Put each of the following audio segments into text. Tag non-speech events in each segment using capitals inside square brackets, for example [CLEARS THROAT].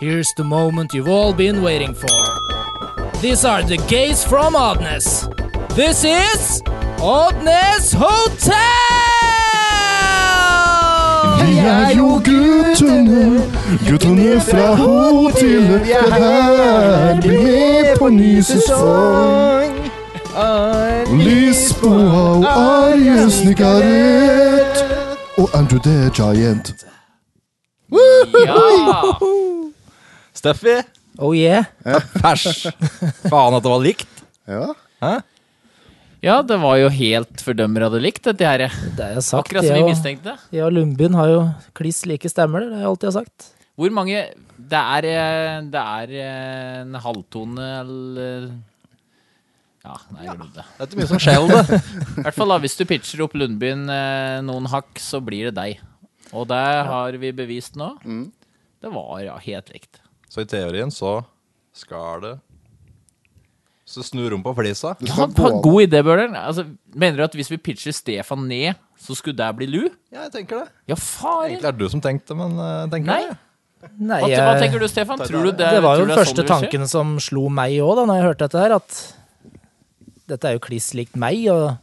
Here's the moment you've all been waiting for. These are the gays from Oddness. This is Oddness Hotel! Vi er jo guttene, guttene fra hotellet. Det er her vi er på ny sesong. Lisboa og Arje Snikarett. Og Andrew the Giant. [LAUGHS] Ja! Stuffy. Oh yeah. Pers. Faen at det var likt. Ja. Ja, det var jo helt fordømmer hadde likt dette her. Det har jeg sagt. Akkurat som jeg vi og- mistenkte. Jeg og Lundbyen har jo kliss like stemmer, det har jeg alltid har sagt. Hvor mange Det er, eh, det er eh, en halvtone eller Ja, nei, jeg glemte det. Det er ikke mye som skjer om det. I hvert fall da, hvis du pitcher opp Lundbyen eh, noen hakk, så blir det deg. Og det har vi bevist nå. Det var ja, helt likt. [LAUGHS] Så i teorien så skal det Så snur om på flisa. Det Ja, skal gå god, an. god idé, Bøhler. Altså, mener du at hvis vi pitcher Stefan ned, så skulle det bli Lu? Ja, jeg tenker det. Ja, faren! Egentlig er det du som tenkte det, men eh, tenker Nei. det. Nei, Hva, hva jeg, tenker du, Stefan? Tror du det, det var jo den tror du det er første sånn det vil skje? tanken som slo meg òg, da når jeg hørte dette her, at dette er jo kliss likt meg, og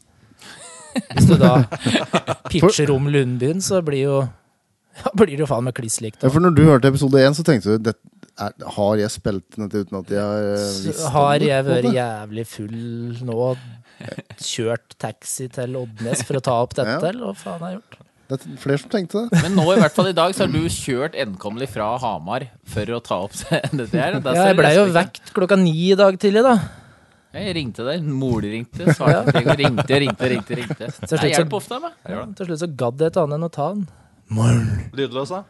hvis du da pitcher om Lundbyen, så blir jo ja, blir det jo faen meg kliss likt. Ja, for når du hørte episode én, så tenkte du det er, Har jeg spilt inn dette uten at jeg har eh, visst Så om har det, jeg på en vært måte? jævlig full nå og kjørt taxi til Oddnes for å ta opp dette, Ja. eller hva faen har jeg gjort? Det er flere som tenkte det. Men nå i hvert fall i dag så har du kjørt endkommelig fra Hamar for å ta opp [LAUGHS] dette her. og da Ja, ser jeg du blei jo respekten. vekt klokka ni i dag tidlig, da. Jeg ringte deg. Mor di ringte, svarte ikke, ringte, ringte, ringte. ringte. slutt Jeg så- hjelper ofte meg. Jeg gjør det. Til slutt så gadd jeg et annet enn å ta den. Lydløs, da.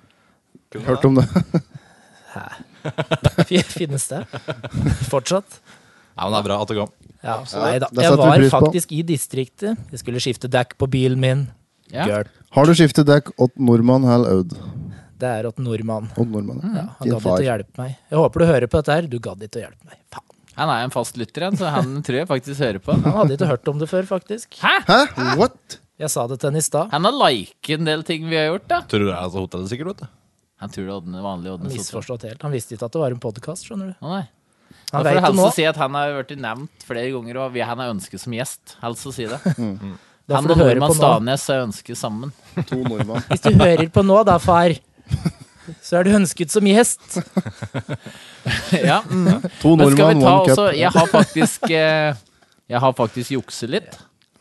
Kunne det. Hørt om det. [LAUGHS] Finnes det? Fortsatt? Ja, men det er bra at det kom. Ja, Absolutt. nei da. Det Jeg setter vi var pris på. faktisk i distriktet. Jeg skulle skifte dekk på bilen min. Ja. Gøl. Har du skiftet dekk åt nordmann hal aud? Det er åt nordmann. Åt nordmann. Ja, han Din gadd ikke å far. hjelpe meg. Jeg håper du hører på dette her. Du gadd ikke å hjelpe meg. Faen. Han er en fast lytter, han, så han tror jeg faktisk hører på. Han hadde ikke hørt om det før, faktisk. Hæ? What? Jeg sa det til han i stad. Han har liket en del ting vi har gjort, da. Tror du det er altså hotellet sikkert, vet du. Han tror det er den vanlige Han Oddnes Hotel. Misforstått helt. Han visste ikke at det var en podkast, skjønner du. Å, nei. Da Han får veit du det nå. helst si at han har vært nevnt flere ganger, og vi- han er ønsket som gjest. Helst å si [LAUGHS] det. Da Han får og du høre nordmann på nå. Stavnes er ønsket sammen. [LAUGHS] To nordmann. Hvis du hører på nå da, far, så er du ønsket som gjest. Ja, mm. To Men skal nordmann, vi ta one også cup. Jeg har faktisk eh, Jeg har faktisk jukset litt.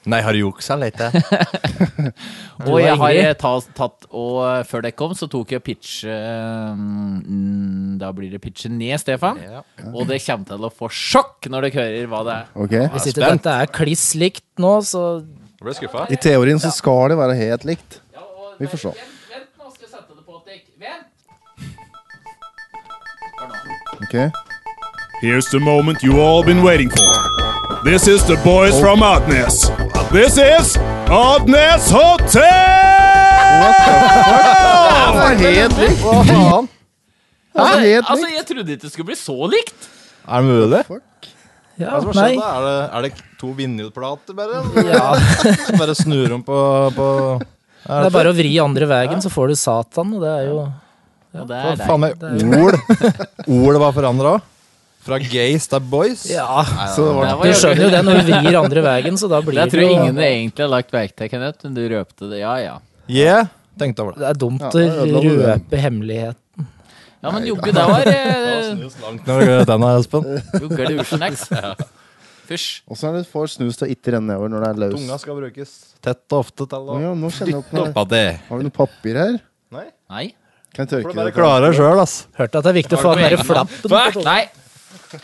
Nei, har du juksa [LAUGHS] litt? Og Du er jeg har ivrig. eh, ta, tatt Og eh, før dere kom, så tok jeg pitch eh, mm, Da blir det pitchet ned, Stefan. Ja. Og det kommer til å få sjokk når dere hører hva det er. Ok. Hvis ikke dette er kliss likt nå, så Ble skuffa? I teorien så skal det være helt likt. Vi får se. Vent, vent, nå skal jeg sette det på, Dick. Vent! Ok? Here's the moment you all been waiting for. This is the boys from Oddness. This is Oddness Hotel! What the fuck? Det er helt likt! Hva faen? Det er helt Altså, likt. jeg trodde ikke det skulle bli så likt! Er det mulig? Fuck. Ja, Hva er det som har nei. skjedd, da? Er det, er det to vinylplater, [LAUGHS] bare? bare snur om på, på Det er bare å vri andre veien, så får du Satan, og det er jo Og det Hva er deg. faen meg ord? Ord var forandra? Fra gays til boys? Ja. Så det var Det Du var jævlig. skjønner jo det når du vrir andre veien, så da blir [LAUGHS] Det det tror jeg jo ingen egentlig har lagt merke til, Kenneth, men du røpte det. Ja, ja. Yeah, tenkte jeg over det. Det er dumt Ja, å da ødela du den. røpe hemmelighet. Ja, men jogge, det [LAUGHS] var eh, Snus langt når du gjør denne, Espen. Jogge er det usjenæks. Fysj. Og så er det for snus til å ikke renne over når det er løs. Tunga skal brukes tett og ofte til Å å Ja, nå kjenner jeg at den er- Stoppa det. Har du noe papir her? Nei, Nei. Kan jeg for tørke du bare det? klarer det sjøl, ass. Hørte at det er viktig å få Har du den derre egen flappen. på [LAUGHS] Fuck, to- nei!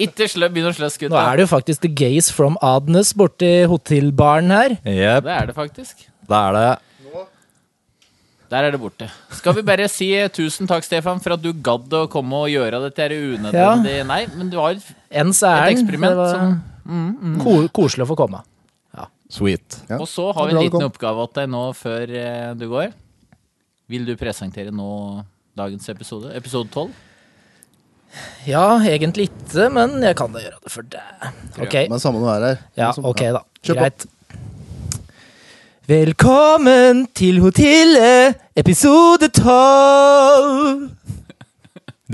Ikke slø, begynn å sløs, Nå gutta. er det jo faktisk The Gays from Adnes borti hotellbaren her. Jepp. Det er det faktisk. Da er det Der er det borte. Skal vi bare si eh, tusen takk, Stefan, for at du gadd å komme og gjøre dette her unødvendig Nei, men du har Ens er Et den. eksperiment Det var som- Mm. ko- Koselig å få komme. sweet. Ja, Og så har vi bra en du liten kom. oppgave til deg nå før eh, du går. Vil du presentere nå dagens episode? Episode 12? Ja, egentlig ikke, men jeg kan da gjøre det for deg. Ok, Men samme når du er her. ja, Liksom, ok da. Kjør på. Greit. Velkommen til hotellet, episode 12.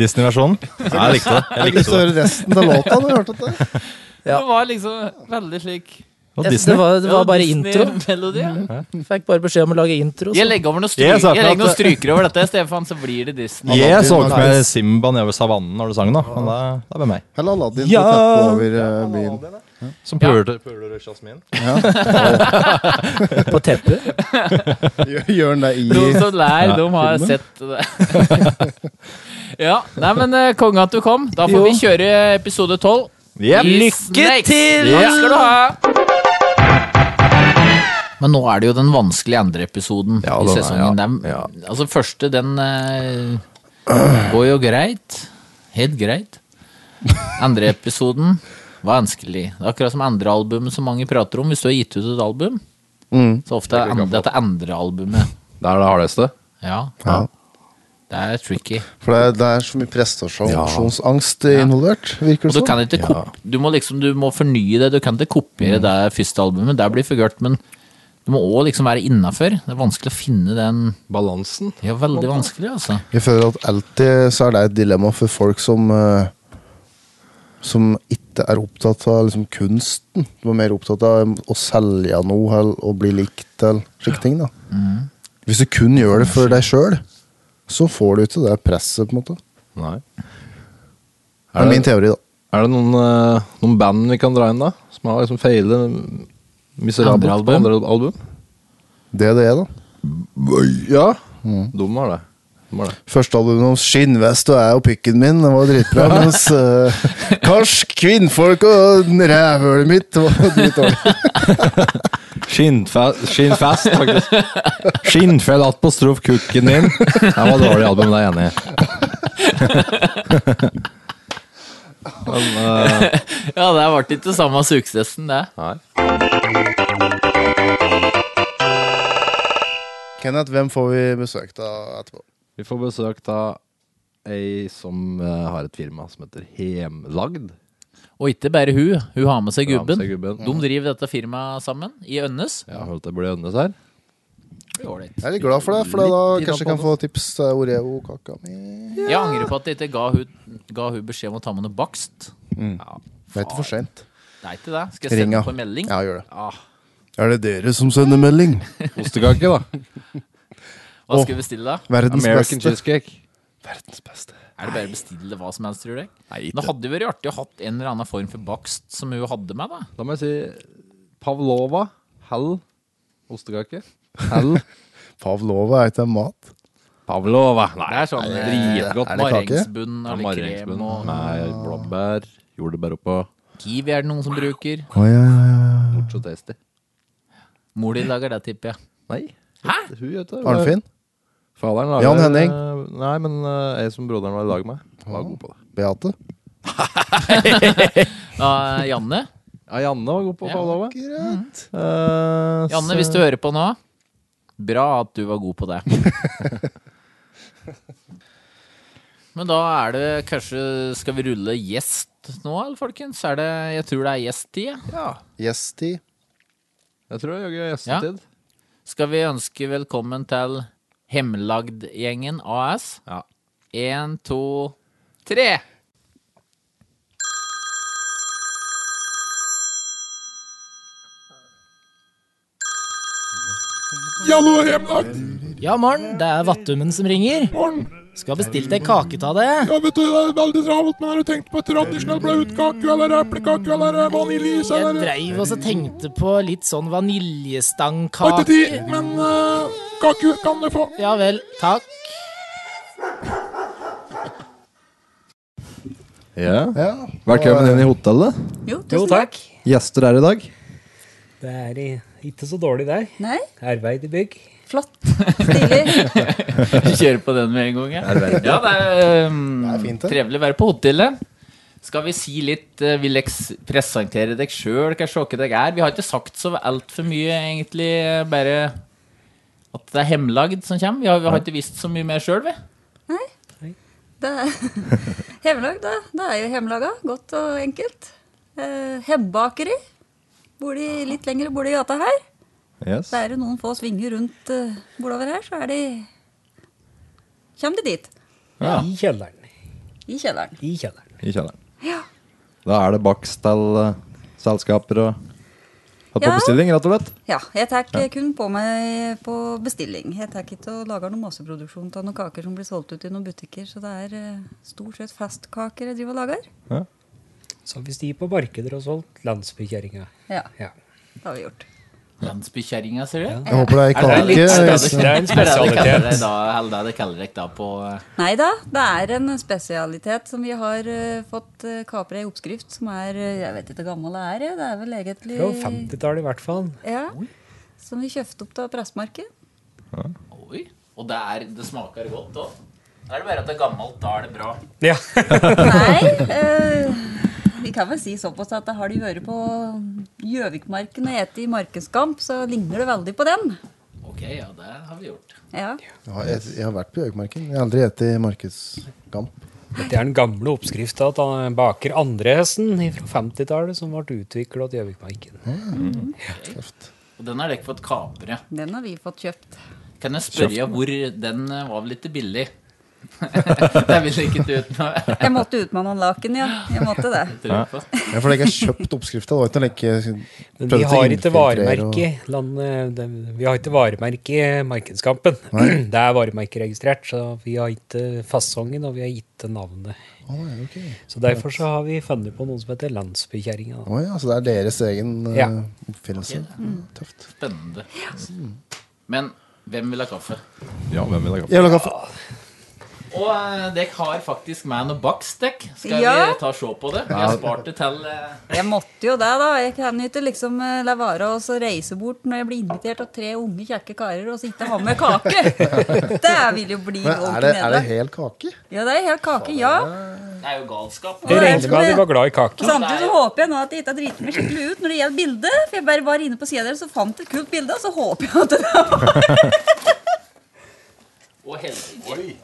Disney-versjonen. Ja, jeg likte det. Jeg Jeg har ikke lyst likte til å det. høre resten av låta. Har du hørt dette? Ja. Det var liksom veldig slik Og Jeg- Disney. Det var, det var bare intro. Disney-melodi, ja. Fikk bare beskjed om å lage intro. Jeg Så. legger over noen stryk, Jeg jeg sa ikke legger noen at stryker over dette, Stefan, så blir det Disney. Jeg så ikke med Simba nedover savannen når du sang, da. Men det, det er med meg. Eller Aladdin Ja. ja. til å teppe over eh, byen. Som puler puler Jasmin. På teppet. Gjør- Gjør den det i De som lær, de har Filmen. sett det. [LAUGHS] ja. Nei, men eh, konge at du kom. Da får Jo. vi kjøre episode tolv. Lykke til! Ja. Takk skal du ha. Men nå er det jo den vanskelige andre episoden Ja, i den er- sesongen. ja, Den- Altså første, den eh, går jo greit. Helt greit. Andre episoden var vanskelig. Det er akkurat som andre albumet som mange prater om. Hvis du har gitt ut et album, Mm. så ofte er an- dette andre albumet. Det er det hardeste. Ja. Ja. Det er tricky. For det, det er så mye prestasjonsangst involvert, virker Og du det kan som. ikke kop du må liksom du må fornye det. Du kan ikke kopiere Mm. det første albumet. Det blir for gørt, men du må òg liksom være innafor. Det er vanskelig å finne den Balansen. Ja, veldig vanskelig, altså. Jeg føler at alltid så er det et dilemma for folk som eh, som ikke er opptatt av liksom, kunsten. De er mer opptatt av um, å selge noe eller å bli likt eller slike ting. da. Hvis du kun gjør det for deg sjøl, så får du ikke det presset, på en måte. Nei. Det er min teori, da. Er det noen, eh, noen band vi kan dra inn, da? Som har liksom feilet miserabelt Andre album? på andre album? Det er det, da. Ja. De har det. De har det. Første albumet om skinnvest og jeg og pikken min, det var dritbra. Mens eh, karsk, kvinnfolk og rævhølet mitt var dritdårlig. Skinnfest, skinnfest [LAUGHS] faktisk. Skinnfell att på strof kukken din. Det var et dårlig album, det er jeg enig i. Men, eh, Ja, det ble ikke samme suksessen, det. nei. Kenneth, hvem får vi besøk av etterpå? Vi får besøk av ei som eh, har et firma som heter Hemlagd. Og ikke bare hun. Hun har med seg Hun har med gubben. seg gubben. Mm. De driver dette firmaet sammen, i Ønnes. Jeg har hørt det blir Ønnes her. Jeg er litt glad for det, for da Litt kanskje jeg kan få tips til Oreo-kaka mi. Jeg angrer på at jeg ikke ga hun, ga hun beskjed om å ta med noe bakst. Det er ikke for sent. Det er ikke det. Skal jeg Mm. Ring sende henne. på en melding? Ja, gjør det. Er det dere som sender melding? Ostekake, da. Hva skal vi bestille, da? Verdens American beste. cheesecake. Verdens beste. Er det bare å bestille hva som helst, tror jeg? Nei, Det hadde jo vært artig å hatt en eller annen form for bakst som hun hadde med, da. Da må jeg si Pavlova. Hell. Ostekake. Hell. Pavlova er ikke en mat. [LAUGHS] Pavlova. Nei, Det er sånn er dritgodt. det kake? marengsbunn av litt krem Mareringsbunn. og Nei, blåbær. Jordbær oppå. kiwi er det noen som bruker. Å, ja, ja, ja. Not so tasty. Mor di lager det, tipper jeg. Nei. Hæ? Hun vet det. Arnfinn? Faderen lager Jan Henning. eh, Nei, men eh, jeg som broderen var i lag med, var god på det. Beate? Ja, Janne, Ja, Janne var god på Ja. Pavlova. Greit. Eh, Janne, så- hvis du hører på nå, bra at du var god på det. [LAUGHS] Men da er det kanskje Skal vi rulle gjest nå, eller folkens? Er det, jeg tror det er gjesttid. ja. Ja. Gjesti. Jeg tror det er gjestetid. Skal vi ønske velkommen til Hemmelagdgjengen AS. Ja. Én, to, tre. Jallo, hjemlagt! [LAUGHS] Ja, morn. Det er Vattummen som ringer. Skal ha bestilt ei kake av deg. Ja, vet du, det er veldig travelt, men har du tenkt på tradisjonell blautkake eller eplekake eller vaniljeis Jeg eller dreiv og så tenkte på litt sånn Har Ah, ikke tid, vaniljestangkake. men eh, kake kan du få. Ja vel. Takk. Ja. Ja. Velkommen inn i hotellet. Jo, tusen takk. Gjester her i dag. Det er i- ikke så dårlig der. Nei, Arbeid i bygg. flott. Stilig. [LAUGHS] Vi kjører på den med en gang. Ja, ja det er, um, Det er fint, det. trevelig å være på hotellet. Skal vi si litt eh, Vil dere presentere dere sjøl, kanskje hvem dere er? Vi har ikke sagt så altfor mye, egentlig. eh, Bare at det er hemmelagd som kommer. Vi har, vi har ikke visst så mye mer sjøl, vi. Det er hjemmelag, da. Det er jo hjemmelaga. Godt og enkelt. Eh, Hebbakeri. Bor de litt lenger bor de i gata her? Yes. Det er jo noen få svinger rundt eh, bordover her, så er de Kjem de dit. I kjelleren. I kjelleren. I kjelleren. i kjelleren. Ja. Da er det bakst til eh, selskaper og hatt på Ja. bestilling, rett og slett. Ja, jeg tar kun på meg på bestilling. Jeg tar ikke og lager noen masseproduksjon av noen kaker som blir solgt ut i noen butikker, så det er eh, stort sett festkaker jeg driver og lager. Så hvis de på markeder og solgt landsbykjerringa. Ja, Ja. det har vi gjort. Landsbykjerringa, sier du? Jeg håper det er Er det litt kake. spesialitet? Er det det de kaller det da, eller det de kaller deg da på eh, Nei da, det er en spesialitet som vi har eh, fått uh, kapra i oppskrift, som er eh, Jeg vet ikke hvor gammel det er, jeg. Det er vel egentlig Fra 50-tallet i hvert fall. Ja. Som vi kjøpte opp av pressmarkedet. [LAUGHS] Oi. Og det, er, det smaker godt òg. Da er det bare at det er gammelt, da er det bra. [LAUGHS] Ja. Nei. eh, vi kan vel si såpass at har de vært på Gjøvikmarken og spist i markedskamp, så ligner det veldig på den. Ok, ja, det har vi gjort. Ja. Ja, jeg, jeg har vært på Gjøvikmarken. Jeg har aldri spist markedskamp. Dette er den gamle oppskrifta til han baker Andresen fra 50-tallet, som ble utvikla til Gjøvikmarken. Og den har dere fått kapre. Den har vi fått kjøpt. Kan jeg spørre hvor Den eh, var vel litt billig? [LAUGHS] det vil jeg ikke ta ut noe Jeg måtte ut med noen laken, ja. Jeg måtte det. tro på. Ja, for jeg har kjøpt oppskrifta. Det var ikke noe like Men vi prøvde å har ikke infiltrere varemerke landet, det- vi har ikke varemerke i Markedskampen. [CLEARS THROAT] Det er varemerkeregistrert, så vi har ikke fasongen, og vi har ikke navnet. og- Å, ja, ok. Så derfor så har vi funnet på noe som heter Landsbykjerringa. da. Å ja, så det er deres egen eh, Ja. oppfinnelse. Mm. Tøft. Spennende. Men hvem vil ha kaffe? Ja, hvem vil ha kaffe? Jeg vil ha kaffe. Og eh, dere har faktisk med noe bakst, dere. Skal Ja. vi ta og se på det? Vi har spart det til eh, Jeg måtte jo det, da. Jeg kan jo ikke liksom eh, la være å så reise bort når jeg blir invitert av tre unge, kjekke karer, og så ikke ha med kake. [LAUGHS] Det vil jo bli Men er ordentlig det, er det nederlag. hel kake? Ja, det er helt kake, ja. Det er jo galskap. Jeg regner med at de var glad i kake. Samtidig så håper jeg nå at jeg ikke har driti meg skikkelig ut når det gjelder bildet. For jeg bare var inne på sida deres og fant et kult bilde, og så håper jeg at det Og helsike.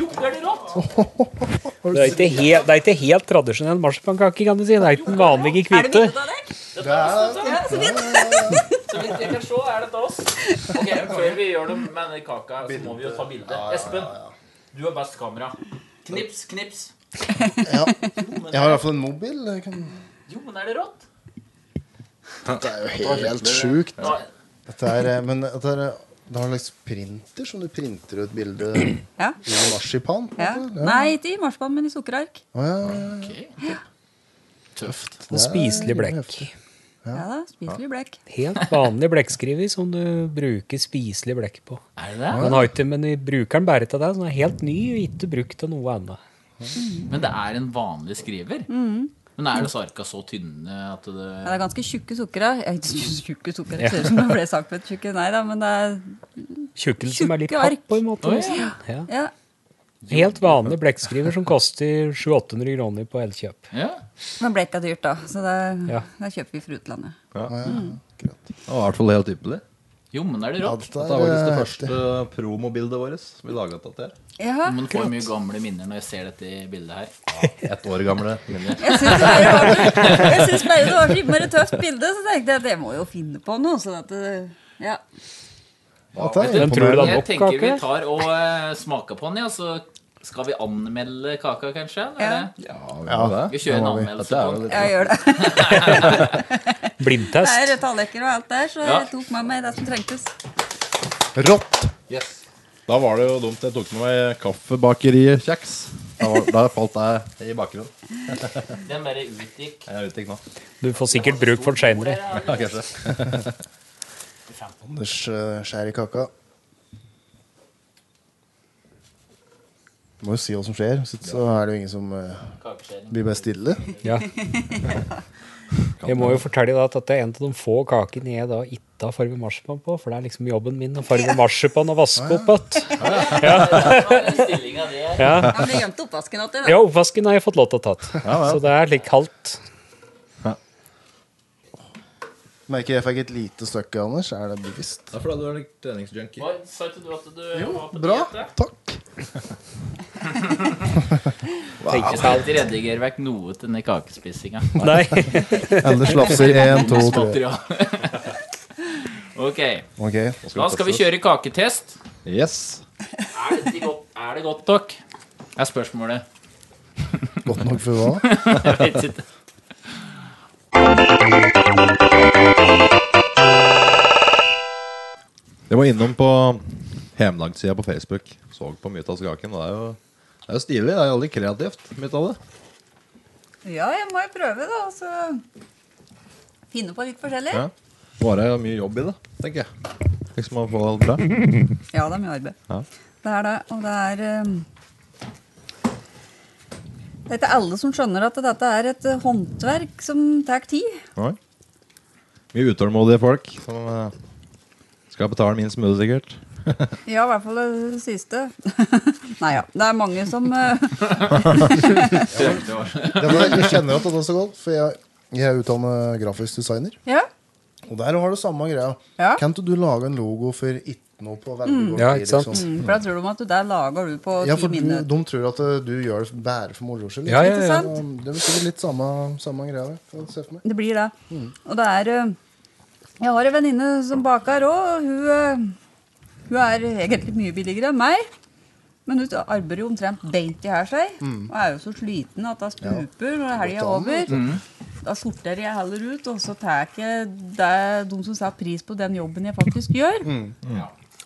Jo, er det rått? Det er ikke helt, det er ikke helt tradisjonell marsipankake, kan du si. Det er ikke den vanlige Er det hvite. bildet av deg? Så vidt jeg kan se, er det til oss. Ok, men Før vi gjør det med denne kaka, så må vi jo ta bilde. Espen, du har best kamera. Knips, knips. Jeg har iallfall en mobil. jeg Kan... Jo, men er det rått? Det er jo helt sjukt. Ja, Dette er, eh, men dette er, eh, det har en slags printer som du printer ut bilde i Ja. marsipan? på en ja. måte? Nei, ikke i marsipan, men i sukkerark. Å, ja, ja, ja. Tøft. Og spiselig blekk. Ja da, spiselig blekk. Helt vanlig blekkskriver som du bruker spiselig blekk på. Er det det? Den har ikke, men vi bruker den bare til deg, så den er helt ny og ikke brukt til noe annet. Men det er en vanlig skriver. Men er disse arka så tynne at det Ja, det Mm. er ganske tjukke sukkerark. Eh, Tjukke sukkerark, det ser ut som det ble sagt på et tjukke. Nei da, men det er Tjukkelsen er litt Tjukke papp ark. på en måte. Oi. nesten. Ja. Ja. Helt vanlig blekkskriver som koster 700-800 kroner på Elkjøp. Ja. Men blekk er dyrt, da, så det, Ja. da kjøper vi fra utlandet. Det var i hvert fall helt ypperlig. Jo, men er det Ja, rått? dette Dette var er, faktisk det eh, heftig. første promobildet vårt som vi laga til dette. Ja, Man får mye gamle minner når jeg ser dette bildet her. Ett år [LAUGHS] gamle. jeg syns bare, det var- jeg synes bare det var så innmari tøft bilde, så tenkte jeg at jeg må jo finne på noe. Så at det, ja. Dette er Den tror du det er Jeg nok tenker vi kake? tar og eh, smaker på den, ja, så skal vi anmelde kaka, kanskje? Eller? Ja. Ja, Vi kjører en anmeldelse på den. Jeg gjør det. Det Blindtest. er tallekker og alt der, så Ja. jeg tok med meg det som trengtes. Rått! Da var det jo dumt jeg tok med meg kaffebakerikjeks. Da, var- da falt jeg i bakgrunnen. Den bare utgikk. Jeg vet ikke nå. Du får sikkert bruk for den seinere. Ja, [LAUGHS] kanskje. Anders eh, skjærer i kaka. Du må jo si hva som skjer, så- så er det jo ingen som eh, Kakeskjæring. blir bare stille. [LAUGHS] Ja. Jeg må jo fortelle deg at dette er en av de få kakene jeg da ikke har farget marsipan på, for det er liksom jobben min å farge marsipan og vaske opp igjen. Stillinga di her. Ja. Han ble gjemt i oppvasken igjen. da. Ja, oppvasken har jeg fått lov til å tatt. Så det er litt kaldt. Merker jeg fikk et lite stykke, Anders. Er det bevisst? Det er fordi du er litt treningsjunkie. Hva Sa ikke du at du var på Bra. diett? Takk. Jeg skal ikke redigere vekk noe til denne kakespisinga. Nei. Anders lafser én, to, tre. [LAUGHS] Ok, Ok. da skal vi kjøre kaketest. Yes. [LAUGHS] Er det godt, er det godt nok? Er spørsmålet. Godt nok for hva? Jeg vet ikke. Jeg var innom på hjemlagssida på Facebook. Så på mye av skaken. Det er jo, det er jo stilig. Det er jo veldig kreativt, mye av det. Ja, jeg må jo prøve, da. og Så finne på litt forskjellig. Ja. Bare mye jobb i det, tenker jeg. Liksom å få alt bra. Ja, det er mye arbeid. Ja. Det er det. Og det er eh, Det er ikke alle som skjønner at dette er et eh, håndverk som tar tid. Oi. Mye utålmodige folk som eh, skal betale minst mulig, sikkert. Ja, i hvert fall det siste. [LAUGHS] Nei ja. Det er mange som eh, Ja, men jeg kjenner at det er så godt, for jeg, jeg er utdannet grafisk designer. [LAUGHS] Ja. Og der har du samme greia. Ja. Kan ikke du lage en logo for ikke noe på veldig kort Ja, tid, ikke sant? liksom? Mm, For da tror de at du der lager du på Ja, ti for du, minutter. de tror at eh, du gjør det bare for moro skyld. Ja, ja, Ikke ja. sant? Og Det er vel sikkert litt samme, samme greia. det, kan jeg se for meg. Det blir det. Mm. Og det er eh, Jeg har en venninne som baker òg. Hun, eh, hun er egentlig mye billigere enn meg. Men hun arbeider jo omtrent beint i her seg. Mm. Og er jo så sliten at hun stuper når helga er over. Da sorterer jeg heller ut, og så tar jeg det, de som setter pris på den jobben jeg faktisk gjør. Mm.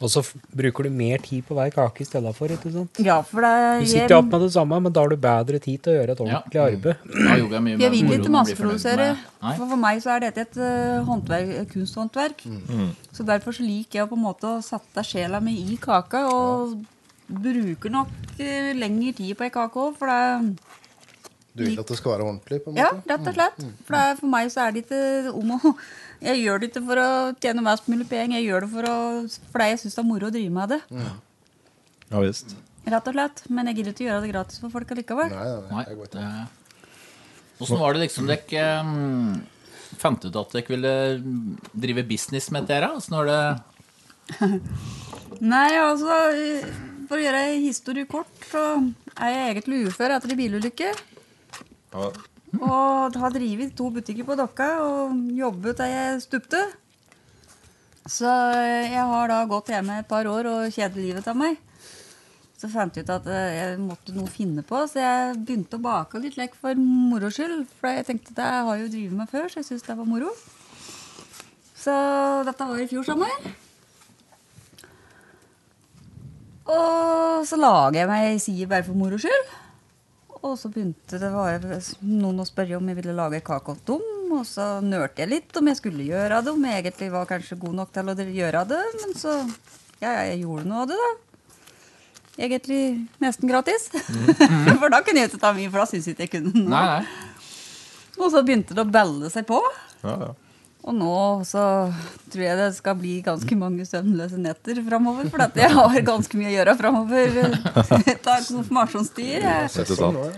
Og så f- bruker du mer tid på hver kake i stedet for. ikke sant? Ja, for det Du jeg, sitter jo opp med det samme, men da har du bedre tid til å gjøre et Ja. ordentlig arbeid. Da gjorde jeg mye med jeg vil moro ikke man blir fornøyd masseprodusere. med. Nei. For for meg så er dette et eh, håndverk, kunsthåndverk. Mm. Så derfor så liker jeg på en måte å sette sjela mi i kaka, og bruker nok eh, lengre tid på ei kake òg, for det er Du vil at det skal være ordentlig? på en Ja, måte? rett og slett. Mm. For det er, for meg så er det ikke om å [LAUGHS] Jeg gjør det ikke for å tjene mest mulig penger, jeg gjør det for å, fordi jeg syns det er moro å drive med Mm. det. Ja visst. Rett og slett. Men jeg gidder ikke gjøre det gratis for folk allikevel. Nei, nei, nei, Nei, det går ikke. det... Hvordan var det liksom dere mm, fant ut at dere ville mm, drive business med dette? her, da? Hvordan var det Nei, altså eh, For å gjøre ei historie kort, så er jeg egentlig ufør etter ei bilulykke. Ja. Og har drevet to butikker på Dokka og jobbet til jeg stupte. Så eh, jeg har da gått hjemme et par år og kjedet livet av meg. Så fant jeg ut at eh, jeg måtte noe finne på, så jeg begynte å bake litt lekk for moro skyld. For jeg tenkte at jeg har jo drevet med før, så jeg syntes det var moro. Så dette var i fjor sommer. Og så lager jeg meg ei side bare for moro skyld. Og så begynte det bare noen å spørre om jeg ville lage kake åt dem. Og så nølte jeg litt om jeg skulle gjøre det, om jeg egentlig var kanskje god nok til å gjøre det. Men så ja, ja, jeg gjorde noe av det, da. Egentlig nesten gratis. [LAUGHS] for da kunne jeg ikke ta mye, for da syntes jeg ikke jeg kunne noe. Mm. Nei, nei. Og så begynte det å belle seg på. Ja, ja. Og nå så tror jeg det skal bli ganske mange søvnløse netter framover. For at jeg har ganske mye å gjøre framover. [LAUGHS] Ta konfirmasjonstider. jeg. Sett ut alt.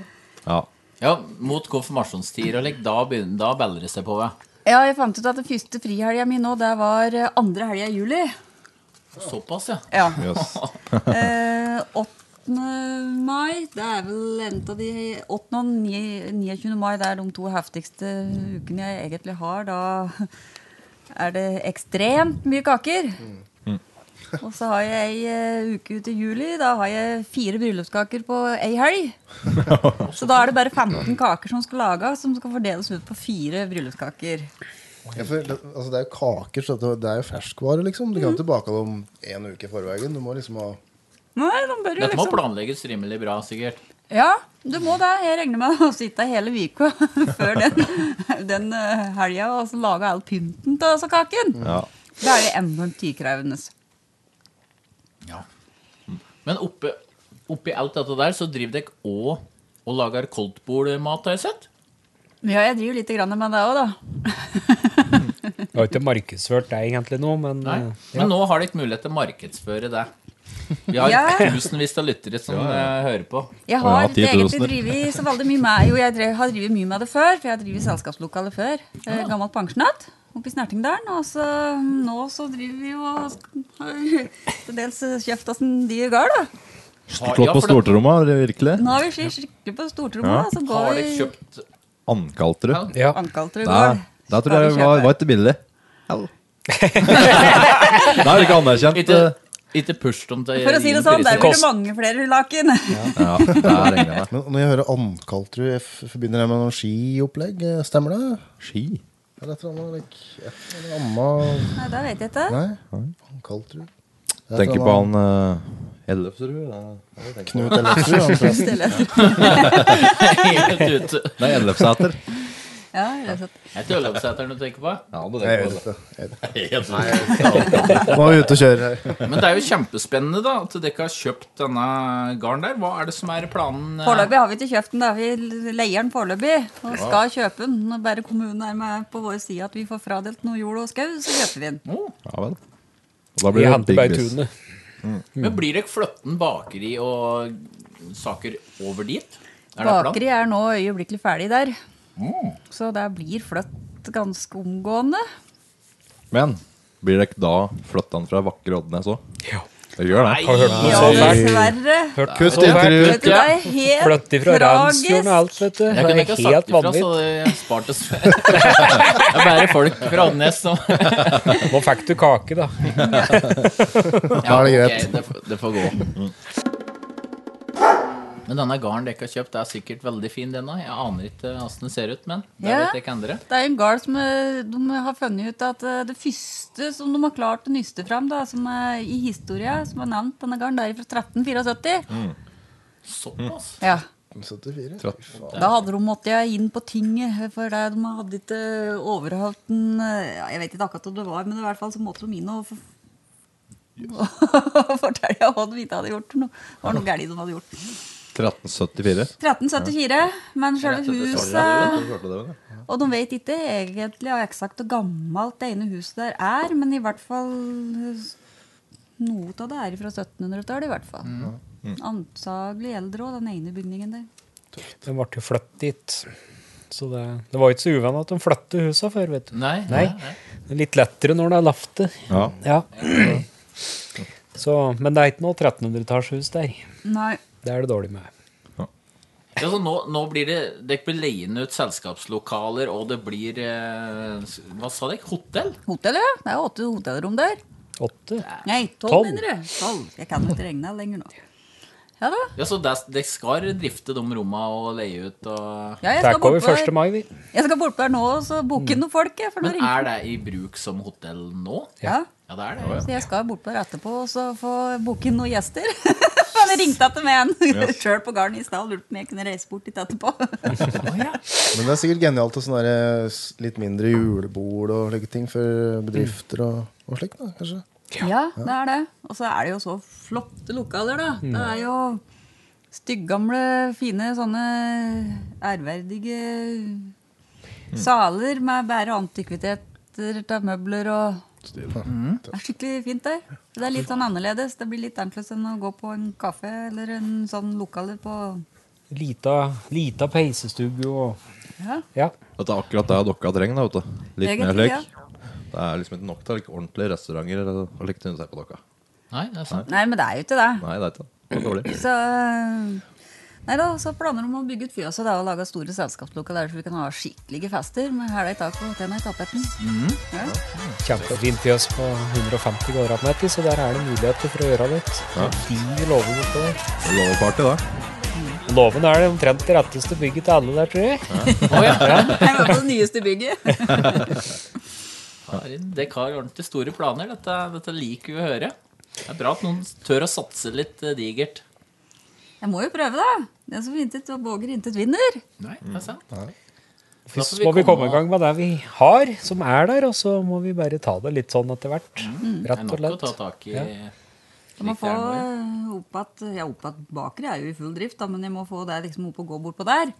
Ja. Ja, mot konfirmasjonstider og lik, da, begynner, da beller det seg på. hva? Ja, jeg fant ut at den første frihelga mi nå, det var eh, andre helga i juli. Såpass, ja. Ja. Jøss. Eh, 8. mai, det er vel en av de 8. og 9 29. mai, det er de to heftigste ukene jeg egentlig har. Da er det ekstremt mye kaker. Og så har jeg ei eh, uke ut i juli. Da har jeg fire bryllupskaker på ei helg. Så da er det bare 15 kaker som skal lages, som skal fordeles ut på fire bryllupskaker. Ja, for det, altså det er jo kaker, så det, det er jo ferskvare, Mm. liksom. Du kan ikke bake dem en uke i forveien. Du må liksom ha Nei, de bør jo Dette må liksom planlegges rimelig bra, sikkert. Ja, du må det. Jeg regner med å sitte hele uka [LAUGHS] før den, den helga og så lage all pynten til altså kaken. Ja. Da er det enormt tidkrevende. Men oppe, oppi alt dette der, så driver dere òg og lager koldtbordmat, har jeg sett? Ja, jeg driver litt grann med det òg, da. Du har ikke markedsført deg egentlig nå, men Nei. eh, Men nå har dere mulighet til å markedsføre det. Vi har Ja. tusenvis av lyttere som eh, hører på. Jeg Å har ja, ikke 10 000. egentlig drevet så veldig mye med Jo, jeg drev, har drevet mye med det før, for jeg har drevet selskapslokale før. Eh, gammelt pensjonat oppe i Snertingdalen. Og så nå så driver vi jo og sk- [LAUGHS] har til dels kjøpt oss en dyr gard, da. Slått på for det- stortromma, virkelig. Nå har vi skik- skikkelig på stortrommet, Ja. da. Så Har går dere vi kjøpt Ankaltere. ja. Ankalter og Der, gård. der Skal tror vi jeg var, kjøpe? var ikke billig. [LAUGHS] Da er det ikke anerkjent. Ikke- eh, Ikke push dem til For å si det sånn, der prisen. blir det mange flere laken. Ja, det regner jeg med. Men når jeg hører Ankaltrud, jeg f- forbinder det med noen skiopplegg. eh, Stemmer det? Ski? Er det et eller annet like, et eller annet Nei, det vet jeg ikke. Nei? Ankaltrud? Det er et Tenker eller på annet- han eh, Ellefsrud? eh, jeg tenker på- Knut Ellefsrud. han fra- [LAUGHS] Helt ute. Nei, [LAUGHS] Ellefsæter. Ja, det er sant. Jeg tror Løvseteren du tenker på. Ja, det Jeg tenker vet på ikke. Jeg [LAUGHS] vet ikke. Ellefsæter. [LAUGHS] Nå er vi ute og kjører her. Men det er jo kjempespennende da at dere har kjøpt denne garden der. Hva er det som er planen? eh? Foreløpig har vi ikke kjøpt den, da. vi leier den foreløpig. Og skal kjøpe den. Når bare kommunen er med på vår side at vi får fradelt noe jord og skau, så kjøper vi den. Ja vel. Og da Vi blir det henter big bare business. tunet. Men blir dere fløtten bakeri og saker over dit? Er det planen? Bakeri er nå øyeblikkelig ferdig der. Så det blir fløtt ganske omgående. Men blir dere da flytta fra vakre Oddnes òg? Ja. Dere gjør det? Nei, Ja, så fælt. dessverre. Hørt Kutt så fælt. intervju. Vet du, det er helt Flytte fra Randsfjorden og alt, tragisk. vet du. Jeg kunne Det er ikke ha sagt helt ifra, så vanvittig. det sparte oss. [LAUGHS] Det er bare folk fra Oddnes som Nå fikk du kake, da. Ja, er det ok, greit. det, får- det får gå. Men denne garden dere har kjøpt, er sikkert veldig fin, denne. Jeg aner ikke åssen den ser ut, men det Ja. vet jeg ikke andre. Det er en gard som eh, de har funnet ut at eh, det første som de har klart å nyste fram da, som er i historia, som er nevnt denne garden, det er fra 1374. Såpass. Ja. 74. Da hadde de måttet inn på tinget, eh, for det, de hadde ikke eh, overholdt den eh, ja, Jeg vet ikke akkurat om det var, men i hvert fall så måtte de inn og for- [LAUGHS] fortelle hva de ikke hadde gjort. for noe. Det var noe gærent de hadde gjort. 1374. 1374, men Rett selve etter huset Ja. Og de vet ikke egentlig og eksakt hvor gammelt det ene huset der er, men i hvert fall noe av det er fra 1700-tallet, i hvert fall. Antagelig eldre òg, den ene bygningen der. Den ble jo flyttet dit. Så det, det var jo ikke så uvanlig at de flyttet husa før, vet du. Nei. Nei. Det er litt lettere når det er lafte. Ja. Ja. [CLEARS THROAT] Så, men det er ikke noe 1300-tallshus der. Nei. Det er det dårlig med. Ja, så nå, nå blir det Dere blir leiende ut selskapslokaler, og det blir eh, s- Hva sa dere? Hotell? Hotellet, ja. Det er åtte hotellrom der. Åtte? Nei, Tolv. tolv, mener du? Tolv. Jeg kan ikke regne lenger nå. Ja da. Ja, så der- Dere skal drifte de rommene og leie ut og Ja, jeg Tar skal over bortpå 1. der. mai, vi. Jeg skal bortpå der nå og så booke noen folk, jeg. For nå Men ringer er det i bruk som hotell nå? Ja. Ja, det er det. Så jeg skal bort på etterpå og så få booke inn noen gjester. [LAUGHS] Han ringte etter meg en [LAUGHS] sjøl på gården i stad og lurte på om jeg kunne reise bort dit etterpå. Men det er sikkert genialt å sånne der, eh, s- litt mindre julebord og slike ting for bedrifter og, og slikt. da, kanskje. Ja, det er det. Og så er det jo så flotte lokaler, da. Det er jo styggamle, fine, sånne ærverdige saler med bare antikviteter av møbler og Det er skikkelig fint der. Det er litt sånn annerledes. Det blir litt annerledes enn å gå på en kafé eller en sånn lokaler på Lita, lita peisestugge og Ja. Ja. Dette er akkurat det dere trenger. da, vet du. Litt mer Egentlig, slik. Det er liksom ikke nok til like, ordentlige restauranter eller- og likt å se på dere. Nei, det er sant. Nei, men det er jo ikke det. Nei, det er ikke det. Det er dårlig. Så, nei da, så planer de om å bygge ut fjøset da, og lage store selskapslokaler så vi kan ha skikkelige fester med hæla i taket og tenna i tapeten. Ja. Kjempefint fjøs på 150 kvadratmeter, så der er det muligheter for å gjøre litt. Så De lover bortpå der. Det er Loveparty, da. Låven er det omtrent det retteste bygget til alle der, tror jeg. Jeg var på det nyeste bygget. Karin, Dere har ordentlig store planer. Dette, dette liker vi å høre. Det er bra at noen tør å satse litt eh, digert. Jeg må jo prøve, da. Den som intet våger, intet vinner. Nei, det er sant. Så må vi komme i gang med det vi har, som er der, og så må vi bare ta det litt sånn etter hvert. Mm. Det er Rett og nok å slett. ta tak i. Jeg må Slik det få er nå, eh, opp at, ja, opp at bakeri er jo i full drift, da, men jeg må få det liksom opp og gå bortpå der.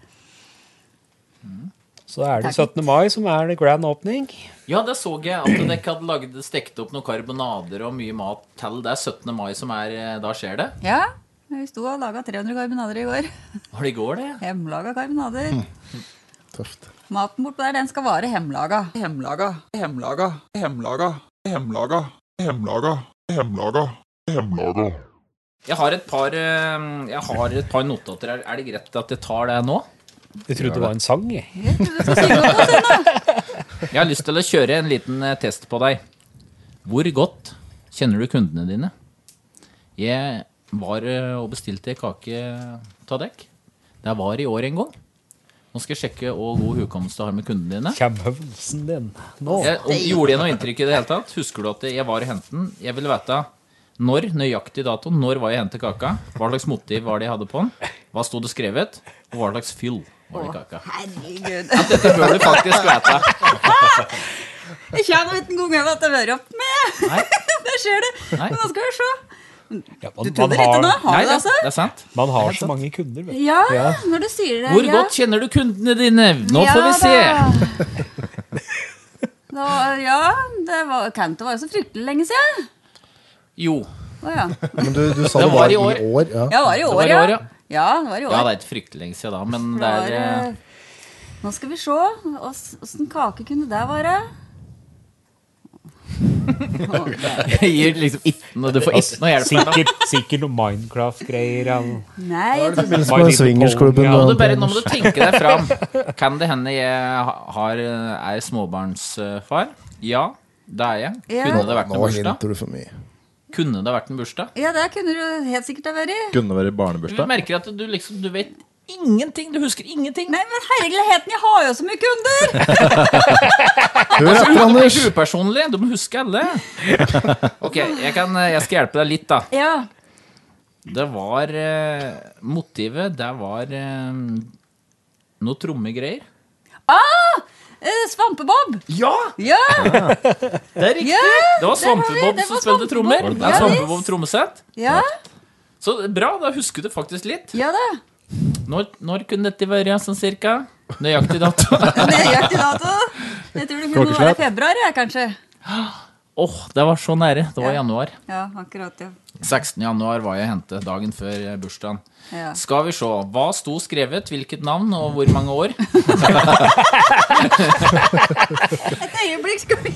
Så er det 17. mai som er det grand opening. Ja, det så jeg at dere hadde lagd, stekt opp noen karbonader og mye mat til. Det er 17. mai som er eh, Da skjer det. Ja, vi sto og laga 300 karbonader i går. Var det i går, det? Hjemmelaga karbonader. Tøft. Maten bortpå der, den skal vare hjemmelaga. Hemlaga, hemlaga, hemlaga, hemlaga, hemlaga, hemlaga, hemlaga. Jeg har et par, eh, jeg har et par notater her. Er det greit at jeg tar det nå? Jeg trodde det var en sang, jeg. Jeg tror du skal synge opp oss ennå. Jeg har lyst til å kjøre en liten eh, test på deg. Hvor godt kjenner du kundene dine? Jeg var eh, og bestilte kake av dekk. Det var i år en gang. Nå skal jeg sjekke hvor god hukommelse du har med kundene dine. Kjemøvelsen din. Nå. Jeg, om, gjorde jeg noe inntrykk i det hele tatt? Husker du at jeg var og hentet den? Jeg ville vite når, nøyaktig dato, når var jeg og hentet kaka? Hva slags motiv var det jeg hadde på den? Hva sto det skrevet? Og hva slags fyll var det i kaka? [LAUGHS] Herregud. Dette bør du faktisk vite. Jeg kjenner ikke engang hvem dette hører opp med. Nei. [LAUGHS] Det ser du. Nei. Men nå skal vi se. Du Ja, man, man, trodde ikke nå? har, Har Nei, du det, det, altså? det er sant. man har så mange kunder, vet du. Ja, når du sier det. Hvor Eh, ja. godt kjenner du kundene dine? Nå får vi se. se. [LAUGHS] Nå, ja, det var, kan ikke være så fryktelig lenge siden. Jo, Å ja. Men du, du sa Det det var var i i år. ja. Ja, det var i år, var i år, ja. ja. Ja, det var i år. ja, det er ikke fryktelig lenge siden da, men Det det var, er eh, eh, Nå skal vi se. Ås- Åssen kake kunne det være? eh, Jeg [LAUGHS] gir liksom ikke noe, du får ikke noe hjelp. Sikkert, sikkert noe Minecraft-greier. eller- Nei, jeg tror- Som er swingersklubben. Ja, Nå må da. du bare nå må du tenke deg fram. [LAUGHS] Kan det hende jeg ha- har, eh, er småbarnsfar? Ja, det er jeg. Ja. Kunne det vært en Nå bursdag? hinter du for mye. Kunne det vært en bursdag? ja, det kunne du helt sikkert ha vært. Kunne vært Du Mm. barnebursdag. merker at du liksom, du vet ingenting. Du husker ingenting. Nei, men herligheten, jeg har jo så mye [LAUGHS] kunder! Hør etter, Det er sånn Anders! ikke upersonlig. Du må huske [LAUGHS] alle. Ok, jeg, kan, eh, jeg skal hjelpe deg litt, da. Ja, Det var eh, Motivet, det var eh, noe trommegreier. eh, Svampebob! Ja! Ja! Det er riktig! ja. Det har vi, var Svampebob det som var spilte trommer. Svampebob. Det er Ja, Svampebob trommesett. Ja, Så bra, da husker du faktisk litt. ja da. Når, når kunne dette være, sånn cirka? Nøyaktig dato. [LAUGHS] Åh, Nøyaktig dato. Jeg tror det kunne være i februar, jeg, kanskje. det var så nære. Det var i Ja. januar. Ja, akkurat, ja. 16. januar var jeg og hentet dagen før eh, bursdagen. ja. Skal vi se. Hva sto skrevet, hvilket navn og hvor mange år? Et øyeblikk skal vi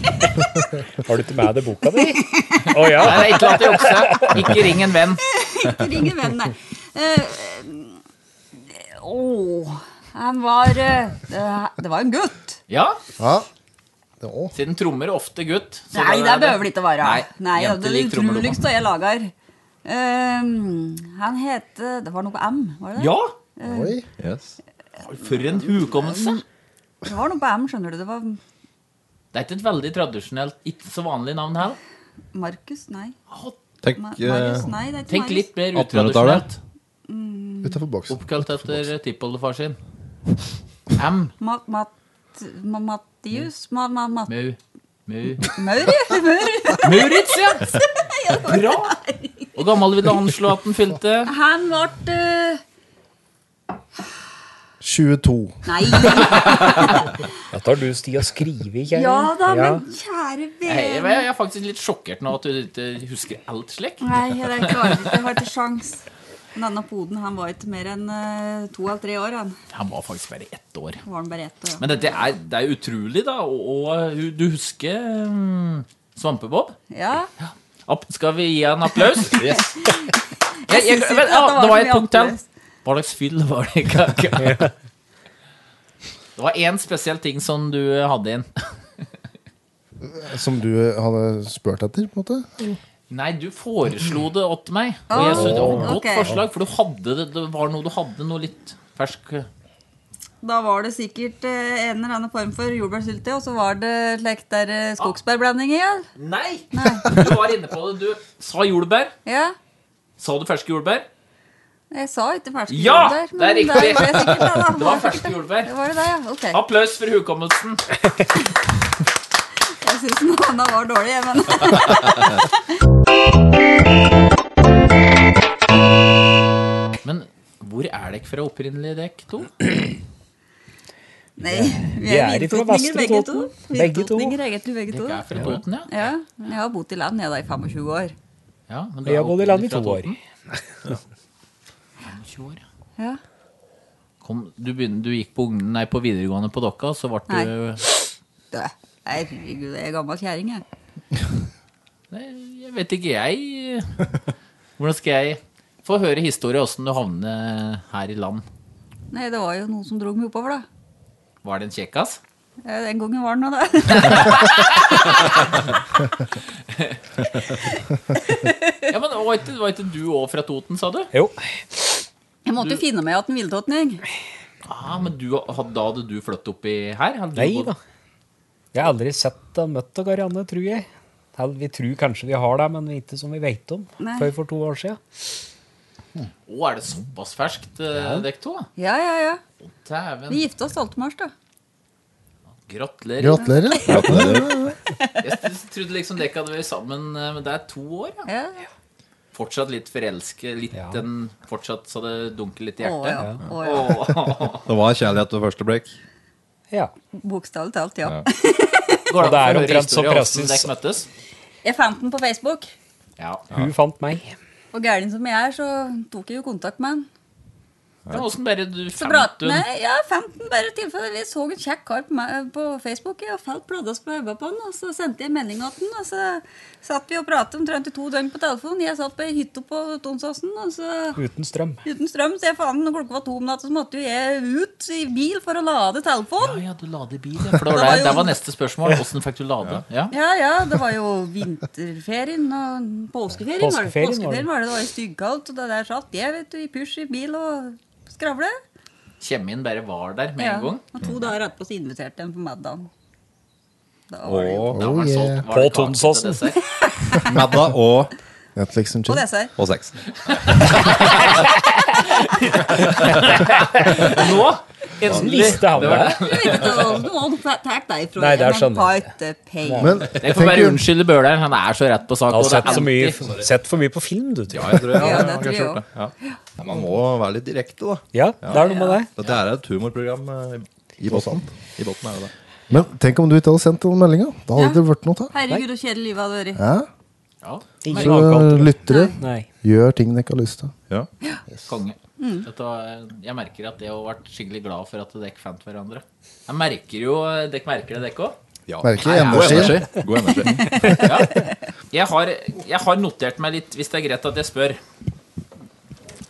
[LAUGHS] Har du ikke med deg boka di? Å ja. Nei, det er ikke lov til å jukse. Ikke ring en venn. ikke ringe vennen, nei. Eh, åh, han var eh, eh, Det var en gutt. Ja, Ja. Det var- siden trommer er ofte gutt. så Nei, da det er behøver det ikke å være. Nei, Nei det jenter er det liker trommer, du utroligste jeg lager. Eh, han het Det var noe på M, var det det? Ja! Oi. Yes. For en hukommelse! Det var noe på M, skjønner du. Det var Det er ikke et veldig tradisjonelt, ikke så vanlig navn her. Markus, nei. Tenk Ma eh, Marius, nei det er ikke Tenk Marius. litt mer 1800-tallet. utradisjonelt. Utenfor boksen. Oppkalt etter tippoldefar sin. M. Mat, mat, ma, Mattius ma, ma, ma, Mu. Mu. Mauri? Mauri? Muritz, [LAUGHS] ja! Bra! Hvor gammel vil du anslå at den fylte? Han ble eh, 22. Nei, Dette har du stia skrevet, kjære. [LAUGHS] ja da, Ja. men kjære Hei, vene. Jeg jeg er faktisk litt sjokkert nå at du ikke husker alt slik. Nei, jeg klarer ikke. Jeg har ikke sjans. Men Denne poden han var ikke mer enn eh, to eller tre år. Han Han var faktisk bare ett år. var han bare ett år. Men dette er, det er utrolig, da. Og, og hu- du husker mm, Svampebob? Ja, App, skal vi gi en applaus? Yes. Jeg, synes jeg, ikke vent, at ja, det var så et mye punkt til. annerledes. Hva slags fyll var det i kaka? Det var én spesiell ting som du hadde inn. Som du hadde spurt etter, på en måte? Nei, du foreslo det åt meg. Og jeg syntes det var et godt Ah, ok. forslag, for du hadde det, det var noe du hadde noe litt fersk Da var det sikkert eh, en eller annen form for jordbærsylte, og så var det slik der eh, skogsbærblanding igjen. Nei! Du var inne på det. Du sa jordbær. Ja. Sa du ferske jordbær? Jeg sa ikke ferske Ja, jordbær. det er riktig. var jeg sikkert, da, da. Det var ferske jordbær. Det var det, ja. Ok. Applaus for hukommelsen. Jeg syns noen annen var dårlig, jeg, men Men hvor er dere fra opprinnelig, dere to? Nei. Vi Vi er er ifra vinfotninger, Vestre begge to. Toten. Begge to. Vinfotninger, egentlig, begge to. Dere er fra Toten, ja? Ja. Jeg har bodd i land jeg, da, i 25 år. ja men du Vi er har bodd i land i opprinnelig to fra år. Toten. [LAUGHS] 25 år, ja. Ja. Kom, du, begynner, du gikk på, ungen- nei, på videregående på Dokka, så ble du Dø. Herregud, jeg er gammel kjerring, jeg. Nei, jeg vet ikke, jeg. [LAUGHS] Hvordan skal jeg få høre historien åssen du havner her i land? Nei, det var jo noen som dro meg oppover, da. Var det en kjekkas? Ja, Den gangen var den nå, da. [LAUGHS] Ja, men var ikke, var ikke du òg fra Toten, sa du? Jo. Jeg måtte jo finne meg igjen Vildtåten, jeg. Ja, Ah, men du, had- Da hadde du flyttet oppi her? Hadde du Nei bodd- da. Jeg har aldri sett og møtt av Karianne, tror jeg. Hell, Vi tror kanskje vi har det, men ikke som vi veit om. Nei. Før for to år siden. Å, er det såpass ferskt, eh, dere to? Ja, ja, ja. Dæven. Vi gifta oss 12. mars, da. Gratulerer. Gratulerer. Jeg s- trodde liksom dere hadde vært sammen eh, Men det er to år, ja. Ja. Fortsatt litt forelske, litt Ja. den Fortsatt så det dunker litt i Å ja. hjertet. Å, ja. Åh. Det var kjærlighet ved første blikk. Ja. Bokstavelig talt, ja. Ja. Går Og det an å er høre omtrent så historien om hvordan presis. dere møttes? Jeg fant den på Facebook, Ja. Hun fant meg. og gæren som jeg er, så tok jeg jo kontakt med han. Men åssen bare du Så brat, fant hun nei, ja, 15 bare tilfeldig. Jeg så en kjekk kar på, meg, på Facebook jeg, og falt pladask på øynene på han. Og så sendte jeg melding til han, og så satt vi og pratet omtrent i to døgn på telefon. Jeg satt på ei hytte på Tonsåsen og så Uten strøm. uten strøm. Så jeg faen, når klokka var to om natta, så måtte jo jeg ut i bil for å lade Ja, telefonen. ja, du lader bil, ja. For [LAUGHS] det var, Det var jo- der, der var neste spørsmål. Åssen fikk du lade? Ja. Ja, ja, det var jo vinterferien og påskeferien. var det. Påskeferien var det. Påskeferien var det, det var jo styggkaldt, og det der satt jeg vet du, i pysj i bil og skravle. Kjemien bare var der med Ja, en gang. og to dager etterpå så inviterte jeg dem på middag. Da var det jo Og Da var det Oh, solgt- yeah. var det På kake til Tonsåsen. [LAUGHS] dessert. [LAUGHS] Madda og, Netflix and Og chill. dessert. og sex. Nå, endelig. Liste hadde jeg. Jeg vet ikke hva- Noen tar deg fra Nei, det er en sånn. fight eh, pay. Men Jeg får tenk bare jo- unnskylde Bøhleren. Han er så rett på sak. Du har og det er sett, så mye, alltid- sett for mye på film, du. Tror jeg. Ja, jeg tror jeg, Ja, jeg, det tror jeg gjort det. Ja. Ja, man må være litt direkte, da. Ja, det er noe med det. Dette er et humorprogram eh, i båten. I båten er det det. Men tenk om du ikke hadde sendt den meldinga. Da hadde Ja. det vært noe av. Herregud, så kjedelig livet hadde vært. Ja? Ja, Ingen Så eh, avkalte. lyttere Nei. gjør ting dere ikke har lyst til. Ja. konge. Mm. Dette, var- jeg merker at jeg har vært skikkelig glad for at dere fant hverandre. Jeg merker jo, Dere merker det, dere òg? Ja. Merker Nei, ja, energi. God energi. God energi. Ja. Jeg, har, jeg har notert meg litt, hvis det er greit at jeg spør. Det